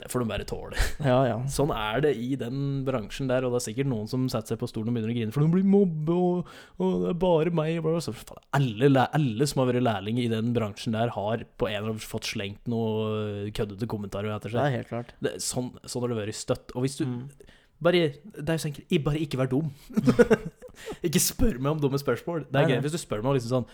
Det får de bare tåle.
Ja, ja.
Sånn er det i den bransjen der, og det er sikkert noen som setter seg på stolen og begynner å grine for de blir mobbe, og, og det er bare meg og bla, bla. Så, faen, alle, læ- alle som har vært lærling i den bransjen der, har på en eller annen fått slengt noe øh, køddete kommentarer etter
Det
seg.
er helt klart.
Det, sånn, sånn har det vært støtt. Og hvis du
Mm.
bare, det er jo så enkelt, I- bare ikke vær dum. ikke spør meg om dumme spørsmål. Det
Nei,
er
nei.
gøy hvis du spør meg om liksom sånn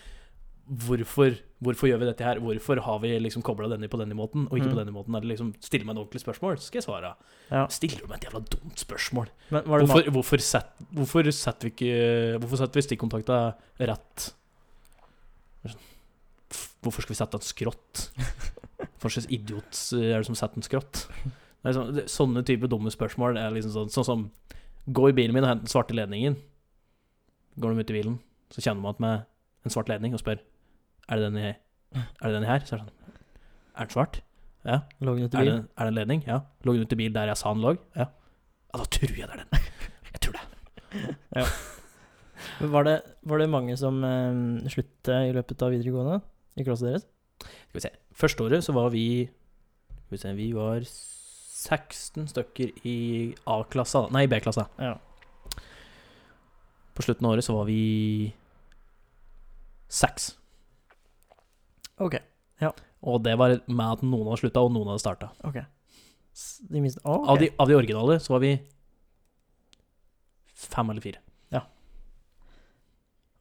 Hvorfor, hvorfor gjør vi dette her? Hvorfor har vi liksom kobla denne på denne måten, og ikke
Mm.
på denne måten? Eller liksom Stille meg et ordentlig spørsmål, så skal jeg svare.
Ja.
Stiller du meg et jævla dumt spørsmål?
Men var det
Hvorfor, hvorfor, set, hvorfor setter vi ikke Hvorfor setter vi stikkontakta rett? Hvorfor skal vi sette en skrått? Hva slags idiot er det som setter en skrått? Det er sånn- det- sånne type dumme spørsmål er liksom sånn, sånn som Gå i bilen min og hent den svarte ledningen. Går de ut i bilen, så kjenner man at med en svart ledning og spør Er det den i, er det den i her? Så er det sånn Er den svart? Ja.
ma- lå den ute i
Er det,
bilen?
er det en ledning? Ja. Lå den ute i bil der jeg sa den lå? Ja. ja. Da tror jeg det er den. Jeg tror det.
Men Var det, var det mange som eh, sluttet i løpet av videregående i klasset deres?
Skal vi se. Første året så var vi Skal vi se, vi var 16 stykker i A-klassa da. Nei, i B-klassa.
Ja.
På slutten av året så var vi seks.
Ok.
Og det var med at noen hadde slutta, og noen hadde starta.
Ok. S- De minste Å, ok.
Av, de- av de originale så var vi fem eller fire.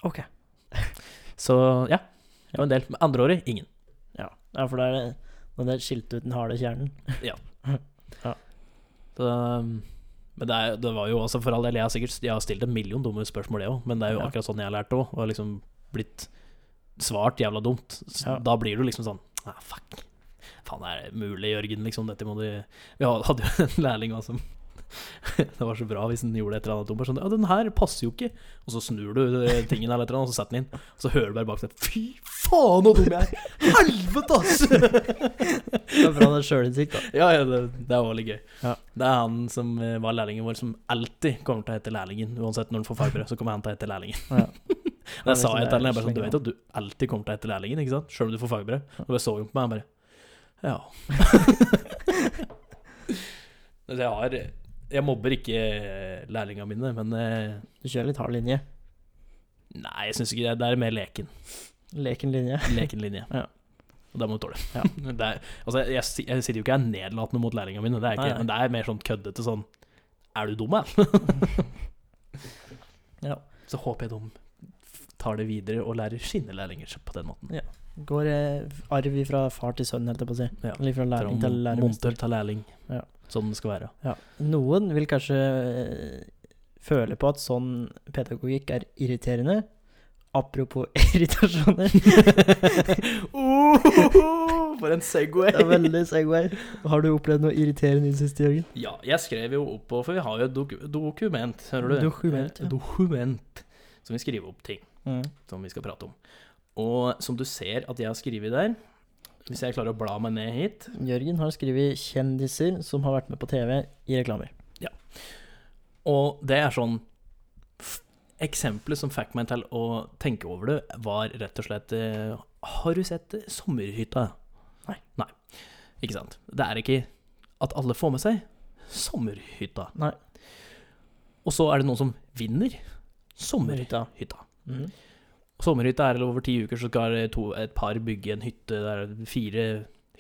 Ok.
Så ja, det var en del. Men andre året ingen.
Ja. ja, for det er når det er skilt ut den harde kjernen.
Så, um, men det, er, det var jo altså for all del, jeg har sikkert jeg har stilt en million dumme spørsmål, jeg òg, men det er jo
Ja.
akkurat sånn jeg har lært òg, og liksom blitt svart jævla dumt. Så
Ja.
Da blir du liksom sånn ah, Fuck. Faen, er det mulig, Jørgen? Liksom, dette må du Vi ha- hadde jo en lærling også som Det var så bra hvis han gjorde et eller annet dumt. bare Sånn, ja, den her passer jo ikke. Og så snur du eh, tingen eller et eller annet, og så setter den inn. Og så hører du bare bak deg Fy faen, så dum jeg er! Helvete, ass!
Det er bra det er sjølinnsikt, da.
Ja, ja det, det var litt gøy.
Ja.
Det er han som eh, var lærlingen vår, som alltid kommer til å hete lærlingen. Uansett når han får farbrød, så kommer han til å hete lærlingen.
Ja.
Det sa
liksom
jeg
det
til ham. Sånn,
slenger
du vet at du alltid kommer til å hete lærlingen, ikke sant? Sjøl om du får farbrød. Og jeg så jo på meg, han bare Ja. Altså, jeg har Jeg mobber ikke lærlingene mine, men eh,
Du kjører litt hard linje.
Nei, jeg syns ikke det. Det er mer leken.
Leken linje.
Leken linje.
Ja.
Og det må du tåle.
Ja.
Det er, altså, jeg, si- jeg sier jo ikke jeg er nedlatende mot lærlingene mine, det er jeg ikke,
Nei, nei.
men det er mer sånn køddete sånn Er du dum, eller?
Ja.
Så håper jeg de tar det videre og lærer sine lærlinger på den måten.
Går eh, arv fra far til sønn, holdt jeg på å si.
Ja.
Eller fra
Fra
lærling til
mon-
læremester.
Monter til lærling.
Ja.
Sånn det skal være.
Ja. Noen vil kanskje eh, føle på at sånn pedagogikk er irriterende. Apropos irritasjoner.
for en Segway!
Det er veldig segway. Har du opplevd noe irriterende i det siste, Jørgen?
Ja, jeg skrev jo opp på For vi har jo et dok dokument, hører du?
Dokument, ja.
Eh, Dokument. Som vi skriver opp ting som vi skal prate om. Og som du ser at jeg har skrevet der Hvis jeg klarer å bla meg ned hit
Jørgen har skrevet 'kjendiser som har vært med på TV' i reklamer.
Og det er sånn f- Eksempelet som fikk meg til å tenke over det, var rett og slett eh, Har du sett eh, Sommerhytta?
Nei.
Nei. Ikke sant. Det er ikke at alle får med seg Sommerhytta.
Nei.
Og så er det noen som vinner Sommerhytta.
Sommerhytta. Mhm.
Sommerhytta er over ti uker, så skal to, et par bygge en hytte. Det er fire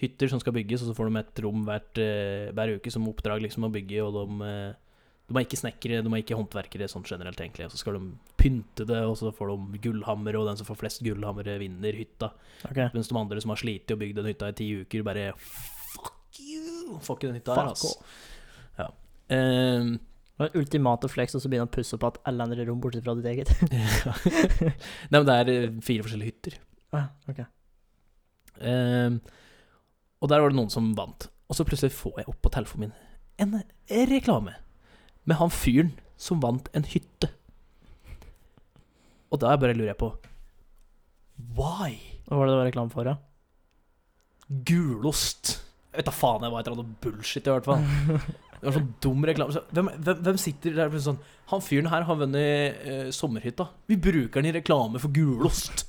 hytter som skal bygges, og så får de et rom hvert, eh, hver uke som oppdrag liksom, å bygge. Og de, eh, de er ikke snekkere, de er ikke håndverkere sånn generelt, egentlig. Og så skal de pynte det, og så får de gullhammer, og den som får flest gullhammere, vinner hytta.
Ok.
Mens de andre som har slitt og bygd den hytta i ti uker, bare Fuck you! Får ikke den hytta her,
Fuck
ass. Ja. Ehm,
Det var ultimate flex, og så begynner han å pusse på at alle andre rom bortsett fra ditt eget.
Nei, men det er eh, fire forskjellige hytter.
ah, ok.
Ehm, og der var det noen som vant. Og så plutselig får jeg opp på telefonen min en reklame med han fyren som vant en hytte. Og da bare lurer jeg på Why?
Hva var det det var reklame for, da?
Gulost. Jeg vet da faen, jeg var et eller annet bullshit i hvert fall. Det var sånn dum reklame. Så hvem, hvem, hvem sitter der og blir sånn Han fyren her har vunnet eh, sommerhytta. Vi bruker den i reklame for sånn, gulost.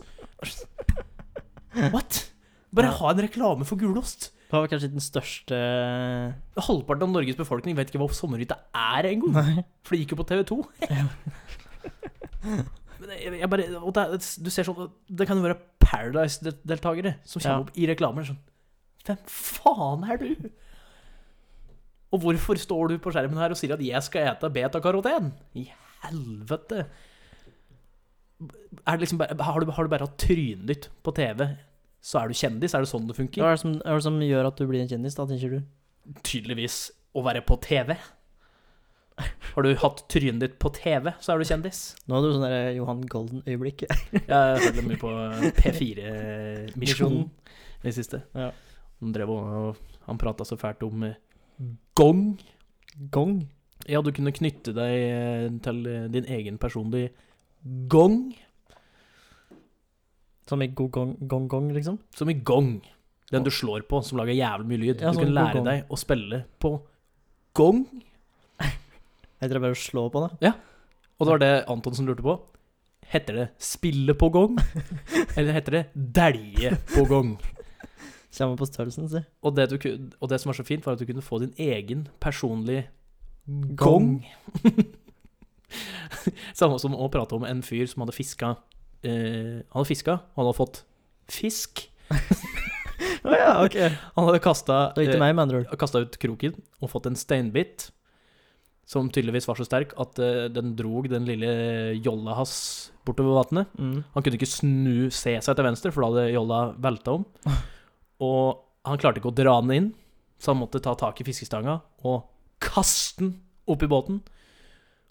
What? Bare ha en reklame for gulost.
Det var kanskje den største
Halvparten av Norges befolkning vet ikke hva sommerhytte er engang,
Nei.
for det gikk jo på TV2. Men jeg, jeg bare, og det, er- du ser sånn Det kan jo være Paradise-deltakere som kommer
Ja.
opp i reklamer sånn Hvem faen er du? Og hvorfor står du på skjermen her og sier at jeg skal ete betakaroten? I helvete! Er det liksom bare, har, du, har du bare hatt trynet ditt på TV, så er du kjendis? Er det sånn det funker?
Hva er det, som, hva er det som gjør at du blir en kjendis, da, tenker du?
Tydeligvis å være på TV. Har du hatt trynet ditt på TV, så er du kjendis.
Nå hadde du sånn der Johan Golden-øyeblikk.
Jeg hørte mye på P4-misjonen i det siste.
Ja.
Han, drev og, og han prata så fælt om eh, gong.
Gong.
Ja, du kunne knytte deg eh, til eh, din egen personlige gong,
Som i gong-gong, liksom.
som i gong. Den du slår på, som lager jævlig mye lyd.
Ja,
du
sånn
kunne lære
gong.
deg å spille på gong.
Heter det bare å slå på, da?
Og det var det Antonsen lurte på. Heter det spille på gong, eller heter det delje på gong?
Kommer på størrelsen, si.
Og det, du, ku- og det som var så fint, var at du kunne få din egen personlige gong. Samme som å prate om en fyr som hadde fiska eh, Han hadde fiska, og han hadde fått fisk.
Å ja, ok.
Han hadde kasta
Det gikk til meg, med andre ord.
ut kroken og fått en steinbit som tydeligvis var så sterk at eh, den drog den lille jolla hans bortover vannet.
Mm.
Han kunne ikke snu, se seg til venstre, for da hadde jolla velta om. Og han klarte ikke å dra den inn, så han måtte ta tak i fiskestanga og kaste den opp i båten.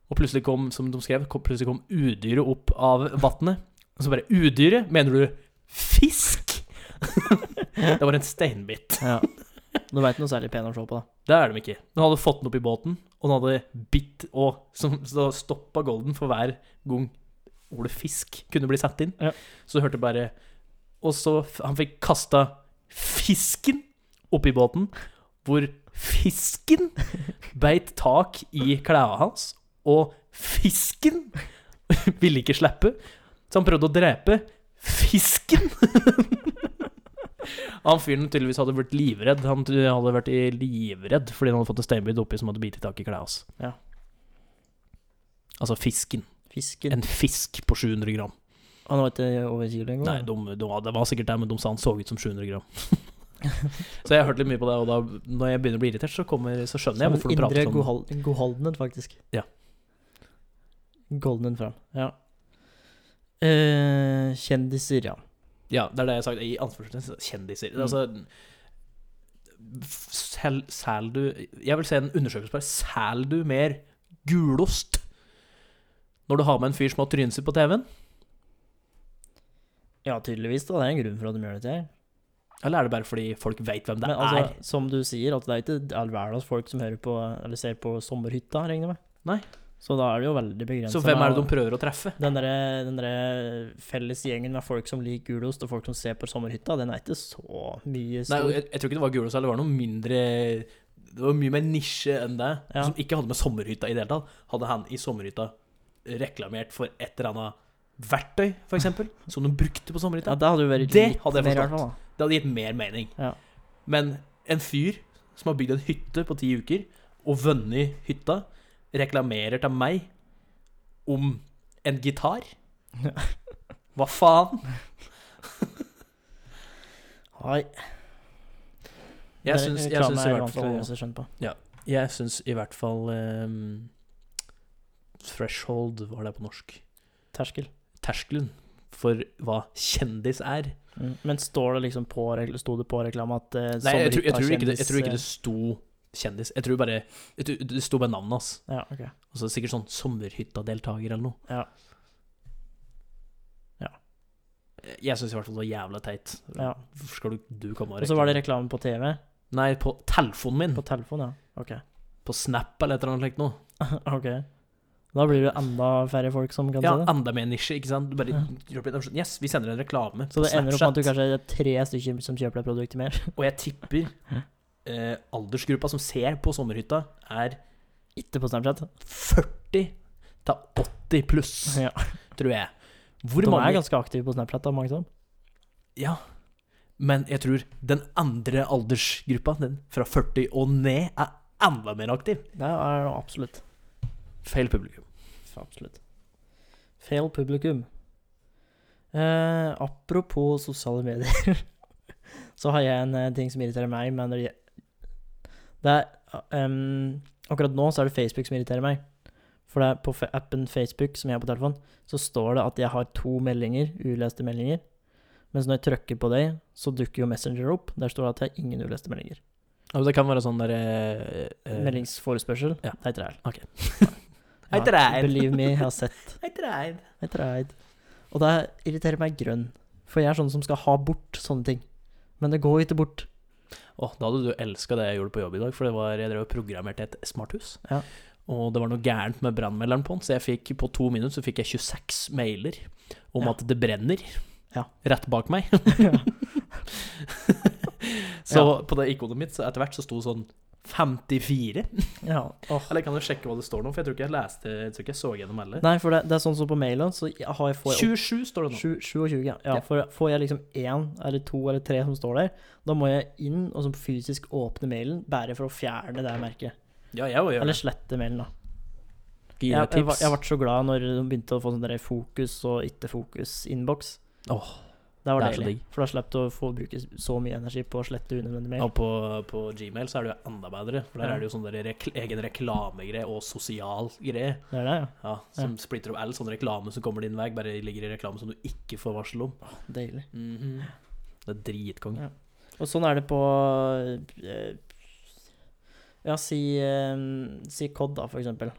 Og plutselig kom, som de skrev, kom, plutselig kom udyret opp av vannet. Og så bare Udyret? Mener du fisk? det var en steinbit.
Ja. Du veit noe særlig pen å se på, da.
Det er de ikke. Den hadde fått den opp i båten, og den hadde bitt og som- Så stoppa Golden for hver gang ordet 'fisk' kunne bli satt inn.
Ja.
Så du hørte bare Og så f- han fikk kasta fisken oppi båten, hvor fisken beit tak i klærne hans, og fisken ville ikke slippe, så han prøvde å drepe fisken. Han fyren tydeligvis hadde blitt livredd. Han t- hadde vært i livredd fordi han hadde fått en steinbit oppi som hadde bitt tak i klærne hans.
Ja.
Altså fisken.
Fisken.
En fisk på 700 gram.
Han var ikke over kilo engang?
Nei,
da.
de, de, det var sikkert det, men de sa han så ut som 700 gram. så jeg har hørt litt mye på det, og da, når jeg begynner å bli irritert, så, kommer, så skjønner jeg
Som
hvorfor de
en
prater
indre
sånn.
godhal- godholdenhet, faktisk.
Ja.
Golden fram. Ja. Eh, kjendiser, ja.
Ja, det er det jeg har sagt. I anførselstegn kjendiser.
Mm.
Altså sel, sel du Jeg vil se en undersøkelse på det. Sel du mer gulost når du har med en fyr som har trynet sitt på TV-en?
Ja, tydeligvis. da, Det er en grunn for at de gjør dette. her.
Eller er det bare fordi folk veit hvem det
Men altså,
er?
som du sier, at det er ikke all verdens folk som hører på, eller ser på Sommerhytta, regner jeg med.
Nei.
Så da er det jo veldig begrenset.
Så hvem er det
med-
de prøver å treffe?
Den derre den derre felles gjengen med folk som liker gulost, og folk som ser på Sommerhytta, den er ikke så
Nei,
mye stor.
jeg, jeg tror ikke det var gulost. eller Det var noe mindre Det var mye mer nisje enn det.
Ja.
Som ikke hadde med sommerhytta i det hele tatt. Hadde han i sommerhytta reklamert for et eller annet verktøy, f.eks., som de brukte på sommerhytta?
ja, det hadde jo vært
Det
litt
hadde jeg
mer i hvert
forstått.
fall, da.
Det hadde gitt mer mening.
Ja.
Men en fyr som har bygd en hytte på ti uker, og vunnet hytta, reklamerer til meg om en gitar. Hva faen?
Nei.
Jeg
Det
syns, jeg
reklame
syns
er
i
i
hvert fall,
ingen som skjønner på.
jeg syns i hvert fall ehm, Threshold, var det på norsk?
Terskel.
Terskelen for hva kjendis er.
Mm. Men står det liksom på, rekl- sto det på reklame at eh,
Nei, jeg tror, jeg,
Sommerhytta
tror ikke det, jeg
kjendis,
tror ikke
eh,
det sto kjendis. Jeg tror bare jeg tror, Det sto bare navnet hans.
Ja, ok.
Og så sikkert sånn sommerhytta-deltaker eller noe.
Ja. Ja.
Jeg syns i hvert fall det var jævla teit.
Ja.
Hvorfor skal du, du komme og
Og så var det reklame på TV.
Nei, på telefonen min.
På
På,
telefon, ja. Ok.
Snap eller et eller annet slikt noe.
ok. Da blir det enda færre folk som kan
Ja,
se det.
enda mer nisje, ikke sant. Du bare gjør på litt- Yes, vi sender en reklame
Så det
på
ender opp med at
Snapchat.
du kanskje er tre stykker som kjøper deg produktet mer.
Og jeg tipper eh, aldersgruppa som ser på sommerhytta, er
Ikke på Snapchat.
40 til 80 pluss,
Ja.
tror jeg. Hvor
de
mange
er ganske aktive på Snapchat, da, mange som.
Ja. Men jeg tror den andre aldersgruppa, den fra 40 og ned, er enda mer aktiv.
Det er det absolutt.
Feil publikum.
Absolutt. Feil publikum. Eh, apropos sosiale medier, så har jeg en eh, ting som irriterer meg. Men det, det er, ehm, akkurat nå så er det Facebook som irriterer meg. For det er på fe- appen Facebook som jeg har på telefonen, så står det at jeg har to meldinger, uleste meldinger. Mens når jeg trykker på det, så dukker jo Messenger opp. Der står det at jeg har ingen uleste meldinger.
Ja, men det kan være sånn derre eh, eh,
Meldingsforespørsel.
ja.
Hei, Træl.
Ok. Hei,
Hei,
Træl.
Believe me, jeg har sett.
Hei, Treid.
Jeg tror jeg er eid. Og det irriterer meg grønn. For jeg er sånn som skal ha bort sånne ting. Men det går ikke bort.
Åh, da hadde du elska det jeg gjorde på jobb i dag, for det var, jeg drev og programmerte et smarthus.
Ja.
Og det var noe gærent med brannmelderen på den, så jeg fikk, på to minutter så fikk jeg 26 mailer om
Ja.
at det brenner
Ja.
rett bak meg. så
Ja.
på det ikonet mitt så etter hvert så sto sånn 54.
Ja. Åh.
Eller jeg kan jo sjekke hva det står nå, for jeg tror ikke jeg leste Jeg tror ikke jeg så gjennom heller.
Nei, for det, det er sånn som på mailen, så jeg- har jeg får jeg
27 står det nå.
Sju- 27, ja. ja
Ja.
for får jeg liksom én eller to eller tre som står der, da må jeg inn og så fysisk åpne mailen bare for å fjerne det merket.
Ja, jeg òg gjør
Eller
det.
slette mailen, da.
Gi
Jeg,
deg
jeg, var-
tips.
jeg ble så glad når de begynte å få sånn der fokus og ikke fokus-innboks.
Åh,
det var
det er så
deilig.
digg.
For da slapp du å få bruke så mye energi på å slette unødvendig mail.
Og på, på Gmail så er det jo enda bedre, for der
Ja.
er det jo sånn der rekl egen reklamegreie og sosial greie.
Det er det, ja.
Ja, som splitter opp all sånn reklame som kommer din vei, bare ligger i reklame som du ikke får varsel om.
Deilig. Mhm.
Det er dritkong.
Og sånn er det på eh, Ja, si, eh, si COD, da, for eksempel.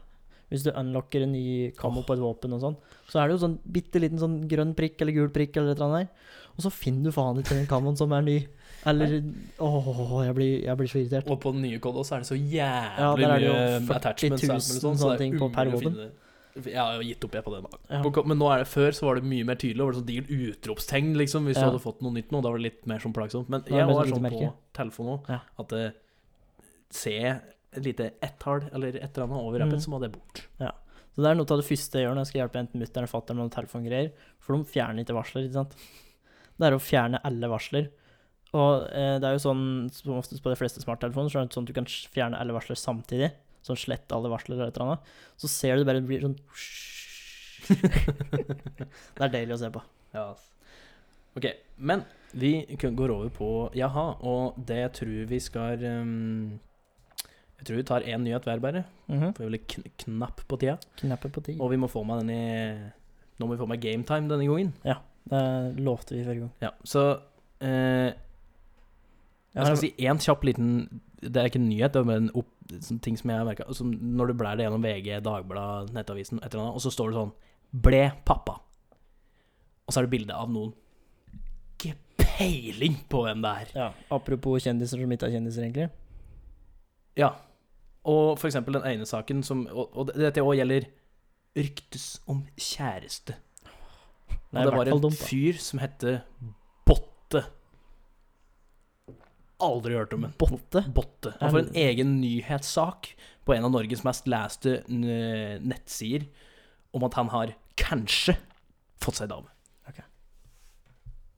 Hvis du unlocker en ny kammo på et våpen og sånn, så er det jo sånn bitte liten sånn grønn prikk eller gul prikk eller et eller annet der, og så finner du faen ikke den kammoen som er ny. Eller Åh, jeg blir, jeg blir så irritert.
Og på den nye koden også er det så
Ja,
jævlig
der er det jo
mye
40
attachments. og alt mulig sånt,
000
så det er
sånne ting på per
umulig å
våpen.
finne- Jeg har jo gitt opp, jeg, på den.
Ja.
På, men nå er det før så var det mye mer tydelig, og det var sånn digert utropstegn, liksom, hvis
Ja.
du hadde fått noe nytt nå. Da var det litt mer sånn plagsomt. Men
er det
jeg
mer
var
sånn
sånn
lite
på
merke.
telefon òg,
Ja.
at eh, se et lite ett-tall eller et eller annet over appen,
Mm.
så må det bort.
Så det er noe av det første jeg gjør når jeg skal hjelpe enten mutter'n eller fatter'n med noen telefongreier, for de fjerner ikke varsler, ikke sant. Det er å fjerne alle varsler. Og eh, det er jo sånn som oftest på de fleste smarttelefoner, så er det sånn at du kan sj- fjerne alle varsler samtidig. Sånn slette alle varsler eller et eller annet. Så ser du det bare blir sånn Det er deilig å se på.
Ja. ass. Ok, men vi kun- går over på jaha, og det jeg tror vi skal ehm, Jeg tror vi tar én nyhet hver, bare.
Mhm.
For jeg vil kn knapp på tida.
Knappet på ti.
Og vi må få med den i Nå må vi få med gametime denne gangen.
Det lovte vi forrige gang.
Ja, så eh, Jeg skal Altså, si én kjapp liten Det er ikke en nyhet, det er bare en opp, sånn ting som jeg har merka. Når du blær det gjennom VG, Dagbladet, Nettavisen, et eller annet, og så står det sånn 'Ble pappa'. Og så er det bilde av noen Ikke peiling på hvem det er.
Ja, apropos kjendiser som ikke er kjendiser, egentlig.
Ja. Og for eksempel den ene saken som Og, og dette òg gjelder ryktes om kjæreste.
Det
Og
er
det
i
var
hvert
en
fall dumt. da.
fyr som hette Botte. Aldri hørt om en.
Botte?
Botte. Han får en egen nyhetssak på en av Norges mest leste n- nettsider om at han har kanskje fått seg dame.
Ok.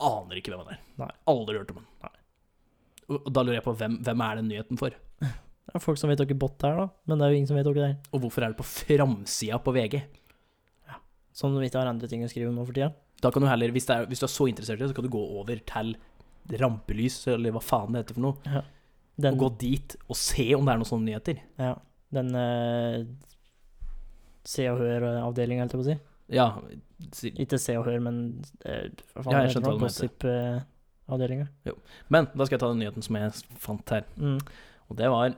Aner ikke hvem han er.
Nei.
Aldri hørt om han. Og- Og da lurer jeg på hvem, hvem er den nyheten for?
Det er folk som vet hvem Botte er, da. Men det er jo ingen som vet hvem det er.
Og hvorfor er det på framsida på VG?
Sånn Som de ikke har andre ting å skrive om nå for tida.
Da kan du heller, hvis, det er, hvis du er så interessert i det, så kan du gå over til rampelys, eller hva faen det heter for noe,
Den,
og gå dit og se om det er noen sånne nyheter.
ja, den eh, Se og Hør-avdelinga, holdt jeg på å si.
Ja, si-
Ikke Se og Hør, men eh, hva faen
Mm. Ja, jeg
heter
skjønte
den? eh,
hva du mente.
Gossip-avdelinga.
men da skal jeg ta den nyheten som jeg fant her.
Mm.
Og det var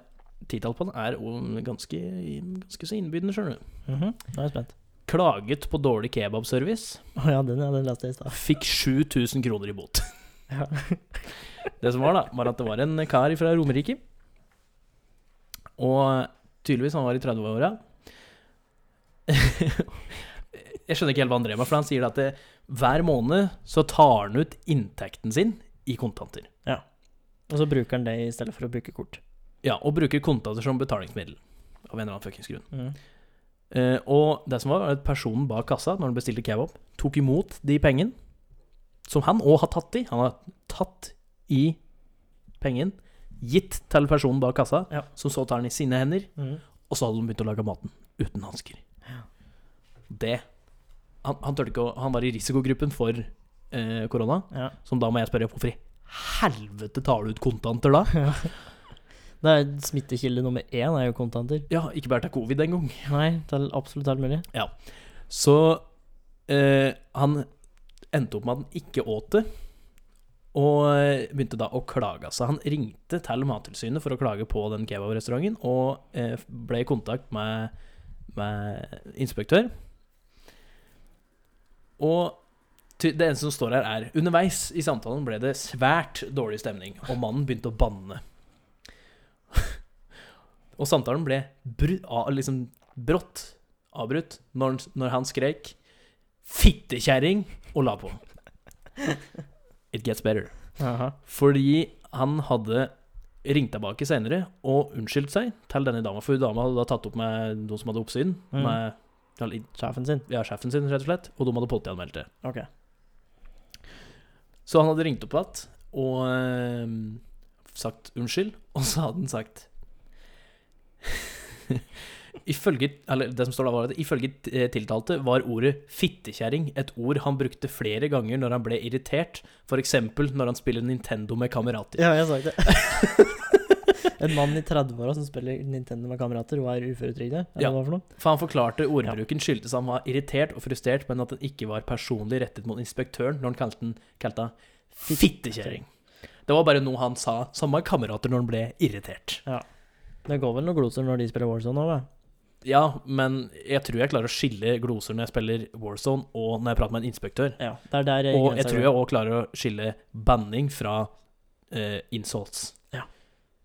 Titall på den er jo ganske, ganske så innbydende, skjønner du.
Mhm. Nå er jeg spent.
Klaget på dårlig kebabservice.
Å ja, den, ja, den leste jeg i stad.
Fikk 7000 kroner i bot.
Ja.
Det som var, da, var at det var en kar fra Romerike. Og tydeligvis han var i 30-åra. Jeg skjønner ikke helt hva han drev med, for han sier at det, hver måned så tar han ut inntekten sin i kontanter.
Og så bruker han det i stedet for å bruke kort.
Ja, og bruker kontanter som betalingsmiddel. Av en eller annen fuckings grunn.
Mm.
Eh, og det som var, var at personen bak kassa, når han bestilte kebab, tok imot de pengene som han òg har tatt i. Han har tatt i pengen, gitt til personen bak kassa,
Ja.
som så tar den i sine hender,
Mm.
og så hadde de begynt å lage maten uten hansker. Det Han, han, tørte ikke å, han var i risikogruppen for eh, korona,
Ja.
som da må jeg spørre hvorfor i helvete tar du ut kontanter da?
Det er smittekilde nummer én er jo kontanter.
Ja, ikke bare til covid engang.
Nei, til absolutt alt mulig.
Så eh, han endte opp med at han ikke åt det, og eh, begynte da å klage. Så han ringte til Mattilsynet for å klage på den kebabrestauranten, og eh, ble i kontakt med, med inspektør. Og ty- det eneste som står her, er underveis i samtalen ble det svært dårlig stemning, og mannen begynte å banne. og samtalen ble bru, a- liksom brått avbrutt når, han- når han skrek 'fittekjerring' og la på. It gets better.
Aha.
Fordi han hadde ringt tilbake senere og unnskyldt seg til denne dama, for dama hadde da tatt opp med noen som hadde oppsyn,
Mm.
med eller,
Sjefen sin.
ja, sjefen sin, rett og slett, og de hadde politianmeldt det.
Ok.
Så han hadde ringt opp igjen og eh, sagt unnskyld, og så hadde han sagt Ifølge, eller det som står da var at ifølge eh, tiltalte var ordet 'fittekjerring' et ord han brukte flere ganger når han ble irritert, f.eks. når han spiller Nintendo med kamerater.
Ja, jeg sa ikke det. en mann i 30-åra som spiller Nintendo med kamerater og er uføretrygda?
Ja.
Ja. Hva for noe?
For han forklarte ordbruken skyldtes han var irritert og frustrert, men at den ikke var personlig rettet mot inspektøren når han kalte den kalte han 'fittekjerring'. Det var bare noe han sa sammen med kamerater når han ble irritert.
Det går vel noen gloser når de spiller Warzone òg, da?
Ja, men jeg tror jeg klarer å skille gloser når jeg spiller Warzone og når jeg prater med en inspektør.
Ja. Det er der
Og jeg
grensa
tror
går.
jeg òg klarer å skille banning fra eh, insults.
Ja.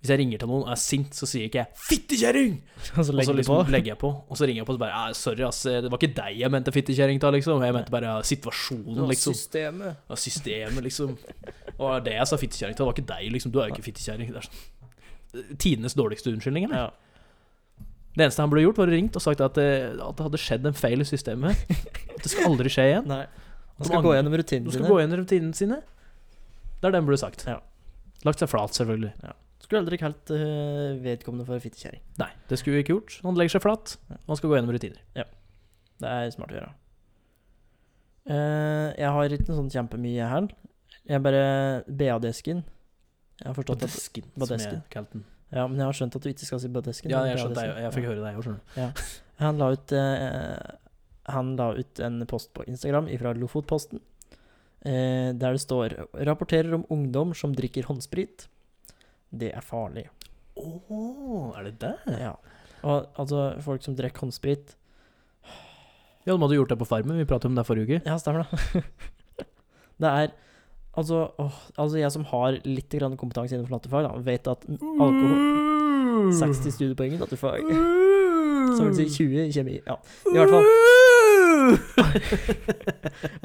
Hvis jeg ringer til noen og er sint, så sier ikke jeg 'fittekjerring'!
Og så
Og så
legger de på.
liksom legger jeg på, og så ringer jeg på og så bare «Ah, 'Sorry, ass, det var ikke deg jeg mente fittekjerring til', liksom. Jeg mente bare ja, situasjonen, liksom.
systemet.
Ja, systemet, liksom. Og det jeg sa fittekjerring til, det var ikke deg, liksom. Du er jo ikke fittekjerring. Det er sånn Tidenes dårligste unnskyldning, eller?
Ja.
Det eneste han ble gjort, var å ringt og sagt at det, at det hadde skjedd en feil i systemet. At det skal aldri skje igjen.
Nei.
At
Du skal
angrer-
gå gjennom rutinene
Du skal gå gjennom rutinene sine. Det er det han burde sagt.
Ja.
Lagt seg flat, selvfølgelig.
Skulle aldri kalt eh, vedkommende for fittekjerring.
Nei, det skulle vi ikke gjort. Han legger seg flat, og han skal gå gjennom rutiner.
Det er smart å gjøre. Eh, jeg har ikke noe sånt kjempemye her. Jeg bare BA-desken. Jeg har forstått at
Badesken,
Badesken.
kalte den.
Ja, men jeg har skjønt at du ikke skal si BA-desken.
Ja,
men
jeg skjønte det.
BA-desken.
Jeg fikk høre det, jeg òg, skjønner du.
Han la ut eh, Han la ut en post på Instagram fra Lofotposten, eh, der det står 'Rapporterer om ungdom som drikker håndsprit'. Det er farlig.
Åh, er det det?
Ja. Og altså, folk som drikker håndsprit
Ja, de hadde gjort det på Farmen. Vi pratet om det forrige uke.
Ja, stemmer det. det er Altså, åh, altså jeg som har litt grann kompetanse innenfor nattefag, da, vet at alkohol
Mm.
60 studiepoeng i nattefag. Så vil si 20 i kjemi. Ja. I hvert fall.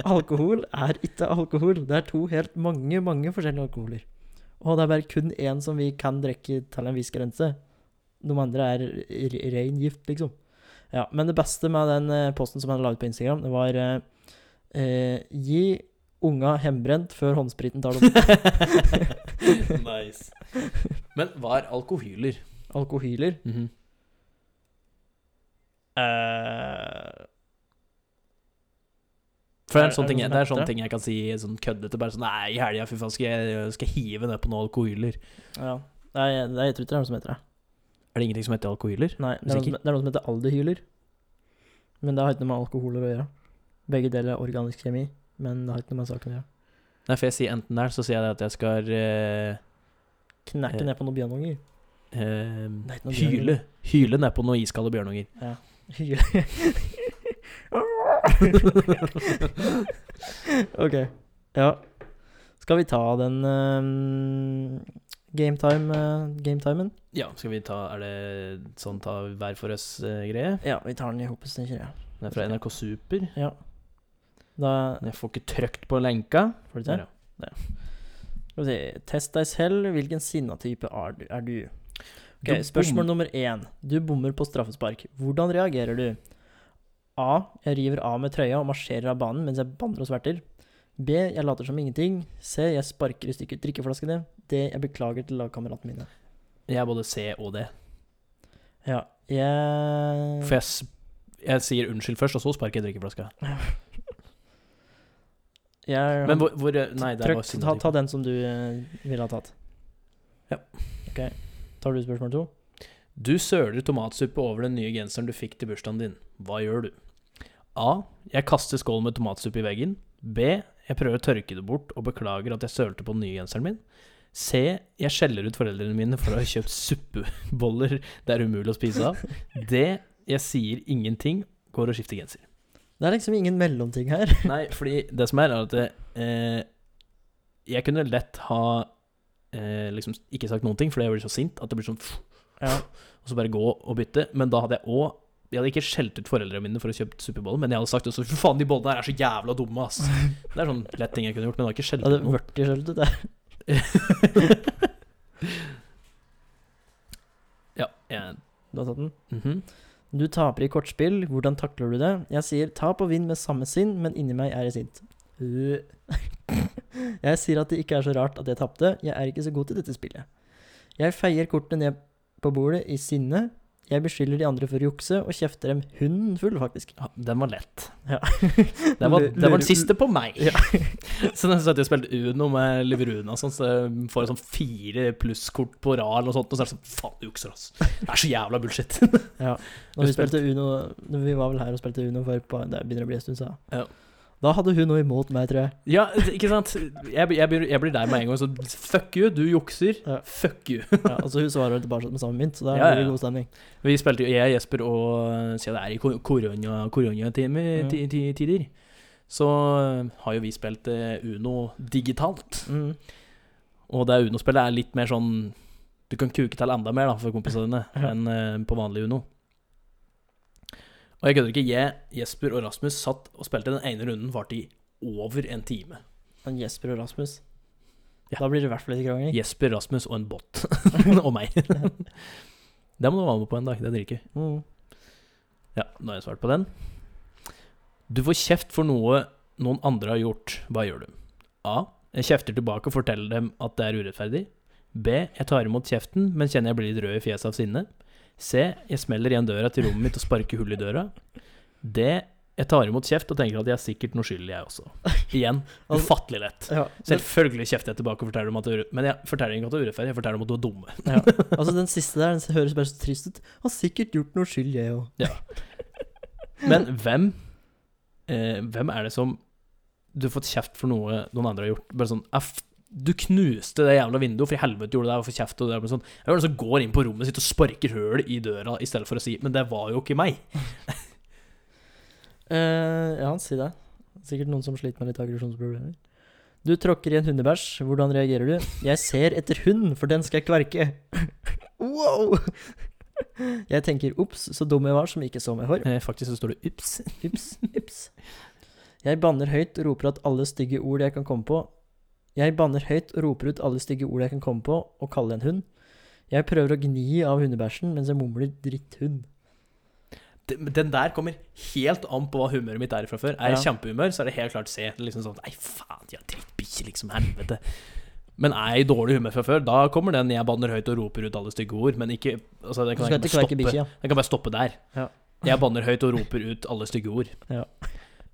Alkohol er ikke alkohol. Det er to helt mange, mange forskjellige alkoholer. Og det er bare kun én som vi kan drikke til en viss grense. De andre er r- ren gift, liksom. Ja, men det beste med den eh, posten som han la ut på Instagram, det var eh, eh, Gi unga hembrent før håndspriten tar dem.
nice. Men hva er alkohyler?
Alkohyler.
Mhm. For det Eh, er,
Er-
en sånn
er det
ting, jeg-
noe
det
som
er sånn
heter?
ting jeg kan si sånn køddete. Bare sånn Nei, i helga, fy faen, skal jeg, skal jeg hive ned på noen alkohyler?
Ja. Nei, det er, jeg tror ikke det er noe som heter det.
Er det ingenting som heter alkohyler?
Nei, det er, noe, som- det er noe som heter aldehyler. Men det har ikke noe med alkoholer å gjøre. Begge deler er organisk kjemi, men det har ikke noe med saken å gjøre.
Nei, for jeg sier enten der, så sier jeg det at jeg skal eh,
Knerke
Eh.
ned på noen bjørnunger.
eh,
Det er ikke noe bjørn.
hyle. Hyle ned på noen iskalde bjørnunger.
Hyle. ok. Ja. Skal vi ta den um, gametime, eh, gametimen?
Ja, skal vi ta Er det sånn ta hver for oss-greie?
ja, vi tar den i hopet, tenker jeg.
det er fra NRK Super.
Ja. Da
Men Jeg får ikke trykt på lenka.
får du
Der,
til.
ja.
Skal vi se. Test deg selv. Hvilken sinnatype er du? Er du? Ok,
Du bom-
spørsmål nummer én. Du bommer på straffespark. Hvordan reagerer du? A. Jeg river av med trøya og marsjerer av banen mens jeg banner og sverter. B. Jeg later som ingenting. C. Jeg sparker i stykker drikkeflaskene. D. Jeg beklager til lagkameratene mine.
Jeg er både C og D.
Ja, jeg
For jeg, s- jeg sier unnskyld først, og så sparker jeg drikkeflaska.
jeg
Men hvor, hvor Nei, der var
Trykk, ta, ta
synd.
den som du eh, ville ha tatt.
Ja.
Ok. Tar du spørsmål to?
Du søler tomatsuppe over den nye genseren du fikk til bursdagen din. Hva gjør du? A. Jeg kaster skålen med tomatsuppe i veggen. B. Jeg prøver å tørke det bort og beklager at jeg sølte på den nye genseren min. C. Jeg skjeller ut foreldrene mine for å ha kjøpt suppeboller det er umulig å spise av. D. Jeg sier ingenting, går og skifter genser.
Det er liksom ingen mellomting her.
Nei, fordi det som er, er at eh, jeg kunne lett ha eh, liksom ikke sagt noen ting, fordi jeg blir så sint at det blir sånn pff,
Ja.
Og så bare gå og bytte. Men da hadde jeg òg Jeg hadde ikke skjelt ut foreldrene mine for å kjøpe superboller, men jeg hadde sagt også fy faen, de bollene her er så jævla dumme, ass. Det er sånn lett ting jeg kunne gjort, men jeg hadde ikke skjelt
Det
ut
hadde vært i skjøltet, det.
noen. ja, jeg
Du har tatt den.
mhm.
Du taper i kortspill. Hvordan takler du det? Jeg sier tap og vinn med samme sinn, men inni meg er jeg sint. Øh. Jeg sier at det ikke er så rart at jeg tapte. Jeg er ikke så god til dette spillet. Jeg feier kortene ned på bordet i sinne. Jeg beskylder de andre for å jukse, og kjefter dem hunden full, faktisk.
ja, Den var lett.
Ja.
Den var,
Lurer-
den var
lurer-
den siste på meg. så den satt jeg og spilte Uno med Liveruna, sånn, så jeg får sånn fire plusskort på rad eller noe sånt, og så er det sånn Faen, du jukser, ass. Det er så jævla bullshit.
Når vi
Du spilte-
spilte Uno når Vi var vel her og spilte Uno for på, det begynner å bli en stund siden.
Ja.
Da hadde hun noe imot meg, tror jeg.
ja, ikke sant? Jeg, blir- jeg, blir, jeg blir der med en gang, så fuck you, du jukser.
Ja.
Fuck you.
Ja, altså Hun svarer vel tilbake med samme mynt, så da
Ja, ja,
blir det
ja.
god stemning.
Vi spilte jo jeg, Jesper og Siden det er i kor- korona- koronatimer,
Mm.
ti- ti- tider, så har jo vi spilt eh, Uno digitalt.
Mm.
Og det Uno-spillet er litt mer sånn Du kan kuke til enda mer da, for kompisene dine
Ja.
enn eh, på vanlig Uno. Og jeg kødder ikke. Jeg, Jesper og Rasmus satt og spilte den ene runden varte i over en time.
Men Jesper og Rasmus
Ja.
Da blir det i hvert fall ikke krangling.
Jesper, Rasmus og en bot. og meg. det må du være med på en dag. Det drikker vi.
Mm.
Ja, nå har jeg svart på den. Du får kjeft for noe noen andre har gjort. Hva gjør du? A. Jeg kjefter tilbake og forteller dem at det er urettferdig. B. Jeg tar imot kjeften, men kjenner jeg blir litt rød i fjeset av sinne. C. Jeg smeller igjen døra til rommet mitt og sparker hull i døra. D. Jeg tar imot kjeft og tenker at jeg er sikkert noe skyldig, jeg også. Igjen, ufattelig lett.
Ja, men,
Selvfølgelig kjefter jeg tilbake og forteller dem at det er urettferdig, men jeg forteller ikke at det er urettferdig, jeg forteller dem at du er dumme.
altså Den siste der den høres bare så trist ut. Har sikkert gjort noe skyld, jeg òg.
Men hvem eh, Hvem er det som Du har fått kjeft for noe noen andre har gjort Bare sånn F du knuste det jævla vinduet, for i helvete gjorde du det, og for kjeft og det der, men sånn. Hvem er det som går inn på rommet sitt og sparker høl i døra, i stedet for å si, men det var jo ikke meg.
Eh, ja, si det. Sikkert noen som sliter med litt aggresjonsproblemer. Du tråkker i en hundebæsj. Hvordan reagerer du? Jeg ser etter hund, for den skal jeg kverke. wow! Jeg tenker ops, så dum jeg var som ikke så meg for.
Eh, faktisk så står det, ups.
Ups, ups. Jeg banner høyt og roper at alle stygge ord jeg kan komme på. Jeg banner høyt og roper ut alle stygge ord jeg kan komme på, og kaller en hund. Jeg prøver å gni av hundebæsjen mens jeg mumler 'dritthund'.
Den, den der kommer helt an på hva humøret mitt er fra før. Er jeg
Ja.
kjempehumør, så er det helt klart C. Liksom sånn, nei faen, de har drittbikkje, liksom, helvete. Men er jeg i dårlig humør fra før, da kommer den jeg banner høyt og roper ut alle stygge ord, men ikke, altså, den
Du
kan jeg
skal
ikke
ikke
bare
kverke
stoppe.
bikkja.
Jeg kan bare stoppe der.
Ja.
Jeg banner høyt og roper ut alle stygge ord.
Ja.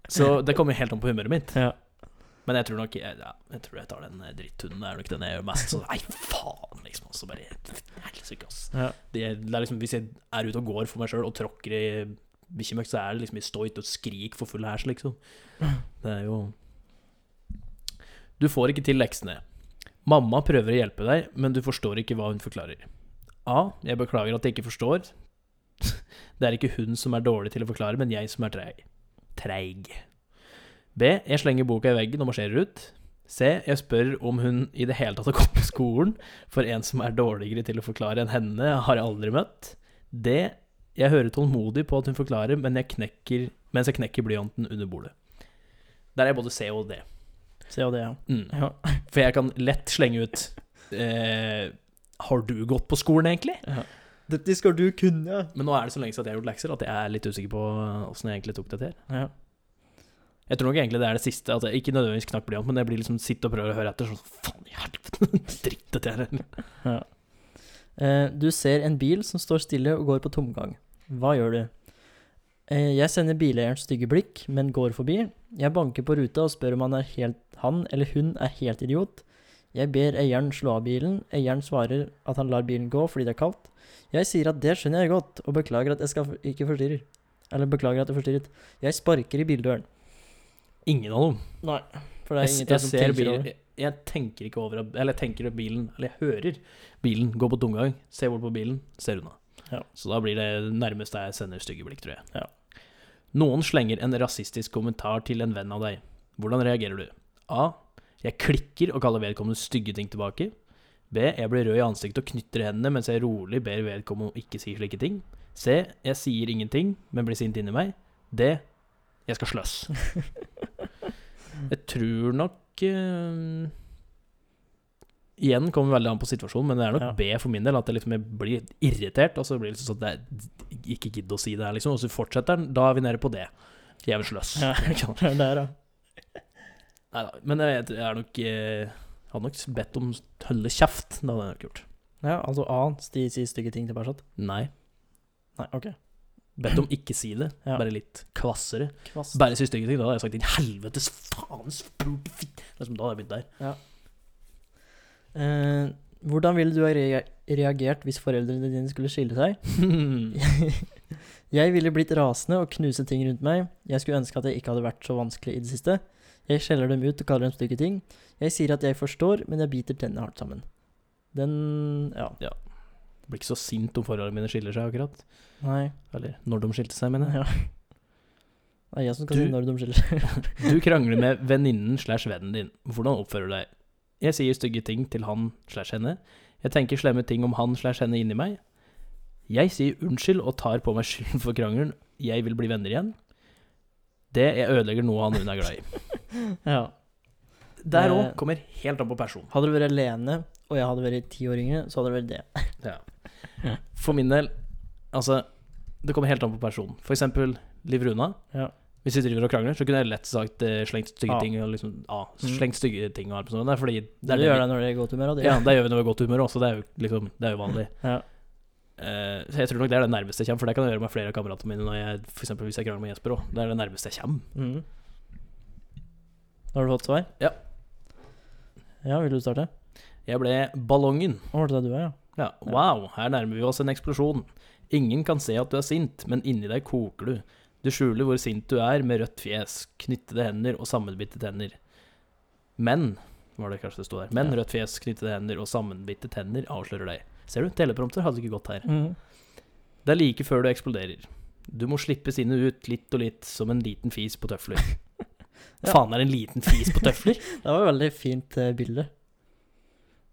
Så det kommer helt an på humøret mitt.
Ja.
Men jeg tror nok jeg, ja, jeg tror jeg tar den eh, dritthunden. Det er nok den jeg gjør mest. Så nei, faen, liksom. Så bare Helsike, ass.
Ja.
Det, det er liksom, hvis jeg er ute og går for meg sjøl og tråkker i bikkjemøkk, så er det liksom i stoit og skrik for full hæsj, liksom. Det er jo Du får ikke til leksene. Mamma prøver å hjelpe deg, men du forstår ikke hva hun forklarer. A. Jeg beklager at jeg ikke forstår. Det er ikke hun som er dårlig til å forklare, men jeg som er treig. Treig. B. Jeg slenger boka i veggen og marsjerer ut. C. Jeg spør om hun i det hele tatt har gått på skolen, for en som er dårligere til å forklare enn henne, har jeg aldri møtt. D. Jeg hører tålmodig på at hun forklarer, men jeg knekker, mens jeg knekker blyanten under bordet. Der er jeg både C og D.
Se og det, ja.
Mm.
ja.
For jeg kan lett slenge ut eh, Har du gått på skolen, egentlig?
Dette skal du kunne.
eh, Men nå er det så lenge siden at jeg har gjort lekser at jeg er litt usikker på åssen jeg egentlig tok det til.
Ja.
Jeg tror nok egentlig det er det siste. At jeg ikke nødvendigvis knakk blyant, men jeg blir liksom sitt og prøver å høre etter. Sånn faen i helvete, dritt dette her.
Ja. Eh, Du ser en bil som står stille og går på tomgang. Hva gjør du? Eh, Jeg sender bileieren stygge blikk, men går forbi. Jeg banker på ruta og spør om han, er helt, han eller hun er helt idiot. Jeg ber eieren slå av bilen. Eieren svarer at han lar bilen gå fordi det er kaldt. Jeg sier at det skjønner jeg godt, og beklager at jeg skal ikke forstyrrer. Eller beklager at jeg forstyrret. Jeg sparker i bildøren.
Ingen av dem.
Nei, for det er
Jeg,
ingenting
jeg
som
ser
tenker
bilen.
over.
Jeg, jeg tenker ikke over at- Eller jeg tenker at bilen Eller jeg hører bilen gå på tomgang, ser bort på bilen, ser unna.
Ja.
Så da blir det nærmest jeg sender stygge blikk, tror jeg.
Ja.
Noen slenger en rasistisk kommentar til en venn av deg. Hvordan reagerer du? A. Jeg klikker og kaller vedkommende stygge ting tilbake. B. Jeg blir rød i ansiktet og knytter hendene mens jeg rolig ber vedkommende om ikke si slike ting. C. Jeg sier ingenting, men blir sint inni meg. D. Jeg skal slåss. jeg tror nok eh, Igjen kommer veldig an på situasjonen, men det er nok
Ja.
B for min del. At jeg, liksom, jeg blir irritert, og så blir det liksom sånn at jeg ikke gidder å si det her, liksom. Og så fortsetter den. Da er vi nede på D. Jeg vil slåss.
Ja, det er der, da.
Neida, Men jeg, jeg er nok eh, Hadde nok bedt om holde kjeft. Det hadde jeg nok gjort.
Ja, altså A, de sier stygge ting tilbake. sånn.
Nei.
Nei, ok.
Bedt om ikke si det.
Ja.
Bare litt kvassere.
Kvast.
Bare si stygge ting. Da hadde jeg sagt 'din helvetes faens pulte fitt'. Liksom, da hadde jeg begynt der.
Eh, hvordan ville du ha rea- reagert hvis foreldrene dine skulle skille seg? jeg ville blitt rasende og knuse ting rundt meg. Jeg skulle ønske at jeg ikke hadde vært så vanskelig i det siste. Jeg skjeller dem ut og kaller dem stygge ting. Jeg sier at jeg forstår, men jeg biter tennene hardt sammen. Den Ja.
Jeg blir ikke så sint om forholdene mine skiller seg, akkurat.
Nei.
Eller når de skilte seg, mener jeg.
Ja. Det er jeg som skal
Du-
si når de skiller seg.
Du krangler med venninnen slash vennen din. Hvordan oppfører du deg? Jeg sier stygge ting til han slash henne. Jeg tenker slemme ting om han slash henne inni meg. Jeg sier unnskyld og tar på meg skylden for krangelen. Jeg vil bli venner igjen. Det jeg ødelegger noe han hun er glad i.
ja.
Der òg
Det-
kommer helt an på personen.
Hadde det vært Lene, og jeg hadde vært ti år yngre, så hadde det vært det.
For min del, altså Det kommer helt an på personen. For eksempel Liv Runa.
Ja.
Hvis vi driver og krangler, så kunne jeg lett sagt eh, slengt stygge
Ah.
ting og liksom, ah,
Mm.
slengt stygge ting og alt sånt. Det er fordi
Det
vi-
gjør det når det er godt humør. og det-
Ja, det gjør vi når vi er i godt humør også, det er jo, liksom, det er jo vanlig.
Ja.
Eh, så jeg tror nok det er det nærmeste jeg kommer, for det kan jeg gjøre med flere av kameratene mine når jeg, for eksempel hvis jeg krangler med Jesper òg. Det er det nærmeste jeg kommer.
Mm. Har du fått svar?
Ja.
Ja, vil du starte?
Jeg ble ballongen.
Å, var det det du er, ja?
Ja, wow, her nærmer vi oss en eksplosjon. Ingen kan se at du er sint, men inni deg koker du. Du skjuler hvor sint du er med rødt fjes, knyttede hender og sammenbitte tenner. Men, var det kanskje det stod der, men
Ja.
rødt fjes, knyttede hender og sammenbitte tenner avslører deg. Ser du, teleprompter hadde ikke gått her.
Mm.
Det er like før du eksploderer. Du må slippe sinnet ut litt og litt, som en liten fis på tøfler.
Ja.
Faen er en liten fis på tøfler?
Det var et veldig fint eh, bilde.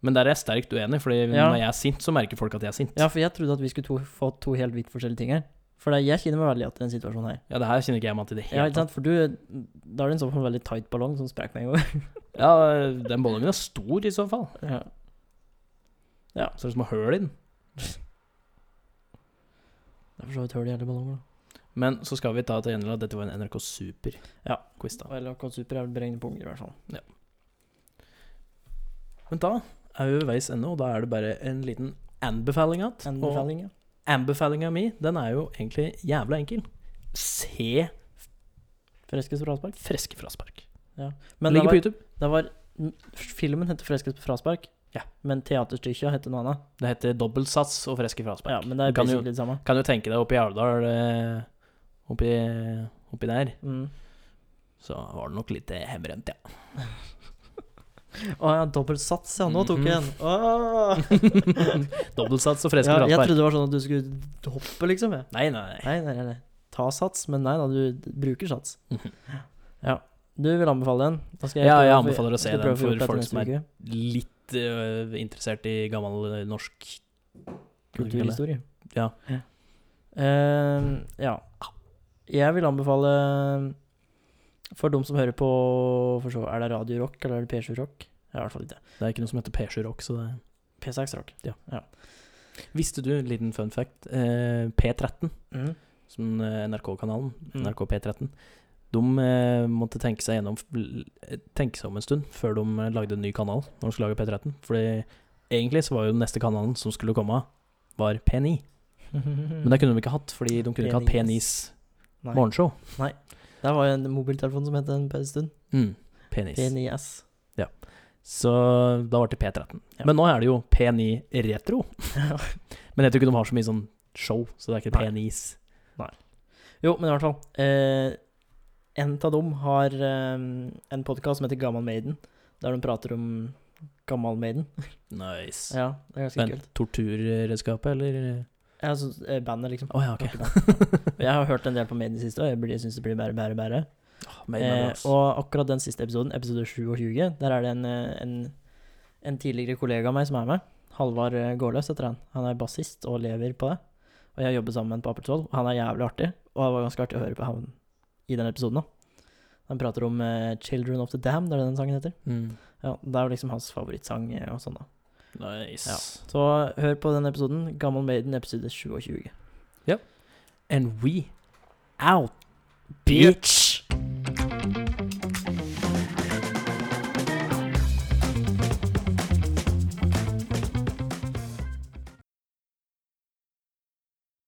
Men der er jeg sterkt uenig, Fordi
Ja.
når jeg er sint, så merker folk at jeg er sint.
Ja, for jeg trodde at vi skulle to, få to helt vidt forskjellige ting her. For det, jeg kjenner meg veldig igjen i den situasjonen her.
Ja, det her kjenner ikke jeg meg til i det
Ja,
hele
ikke sant? For du, da er det en sånn veldig tight ballong som sprakk med en gang.
Ja, den ballongen er stor i så fall.
ja.
Så det er som å høle inn.
Det er for så vidt hull i hele ballongen. da.
Men så skal vi ta til gjengjeld at dette var en NRK
Ja.
Super-quiz, da.
Og LHK Super er vel beregnet på unger, i hvert fall.
Men da er vi ved veis ende, og da er det bare en liten anbefaling igjen. Og
Anbefaling, ja.
anbefalinga mi, den er jo egentlig jævla enkel. Se
Freskes fraspark.
Freske fraspark.
Men det
Ligger på
var,
YouTube.
det var Filmen heter Freskes fraspark,
Ja.
men teaterstykket heter noe annet.
Det heter dobbeltsats og freske
Ja,
fraspark.
men det er
Du kan jo-
basically det samme.
Kan jo tenke deg oppe i Alvdal, eh, oppi, oppi der,
Mm.
så var det nok litt eh, hjemmerent, ja.
Å ja, dobbelt sats, ja. Nå tok jeg en. Åh! Mm-hmm.
Dobbeltsats og freske
Ja, jeg
fraspark.
trodde det var sånn at du skulle hoppe, liksom. Jeg.
Nei, nei, nei.
Nei, nei, nei, nei. Ta sats, men nei da, du d- bruker sats.
Mhm.
Ja. Du vil anbefale den? Da skal
Ja,
prøve
jeg
å få-
anbefaler å se
skal
den
prøve å få
for
gjort dette
folk
neste
som er-
uke.
Litt eh, interessert i gammel eh, norsk
Kulturhistorie.
Ja.
Ehm, ja. Jeg vil anbefale for de som hører på for så, Er det Radio Rock eller er det P7 Rock? Ja, i hvert fall ikke.
Det er ikke noe som heter P7 Rock, så det
P6 Rock.
Visste du, liten fun fact, eh, P13,
Mhm.
som eh, NRK-kanalen,
Mm.
NRK P13 Du De eh, måtte tenke seg, gjennom, tenke seg om en stund før de eh, lagde en ny kanal når de skulle lage P13. Fordi egentlig så var jo den neste kanalen som skulle komme, var P9.
Mm.
Men det kunne de ikke hatt, fordi de kunne ikke hatt P9s
Nei.
morgenshow.
Der var jo en mobiltelefon som het en per stund.
Mm, P9s.
P9S.
Så da ble det P13.
Ja.
Men nå er det jo P9 Retro. Men jeg tror ikke de har så mye sånn show, så det er ikke
Nei.
P9s.
Jo, men i hvert fall. Eh, en av dem har eh, en podkast som heter Gammal Maiden, der de prater om Gammal Maiden.
Nice.
Ja, det er ganske
Men
kult.
torturredskapet, eller
Ja, så, eh, bandet, liksom.
Å ja, ok.
Og Jeg har hørt en del på Maiden i det siste, og jeg, blir- jeg syns det blir bare, bare, bare. Eh,
Eh, og,
og akkurat den siste episoden, episode 27, der er det en, eh, en, en tidligere kollega av meg som er med. Halvard eh, Gårdløs heter han. Han er bassist og lever på det. Og jeg jobber sammen med han på Appeltvoll, og han er jævlig artig. Og det var ganske artig å høre på han i den episoden òg. Han prater om eh, 'Children of the Dam', det er det den sangen heter.
mm.
Ja, Det er jo liksom hans favorittsang eh, og sånn, da.
Nice.
Så hør på den episoden. Gammal Maiden, episode 27.
And we out,
Bitch!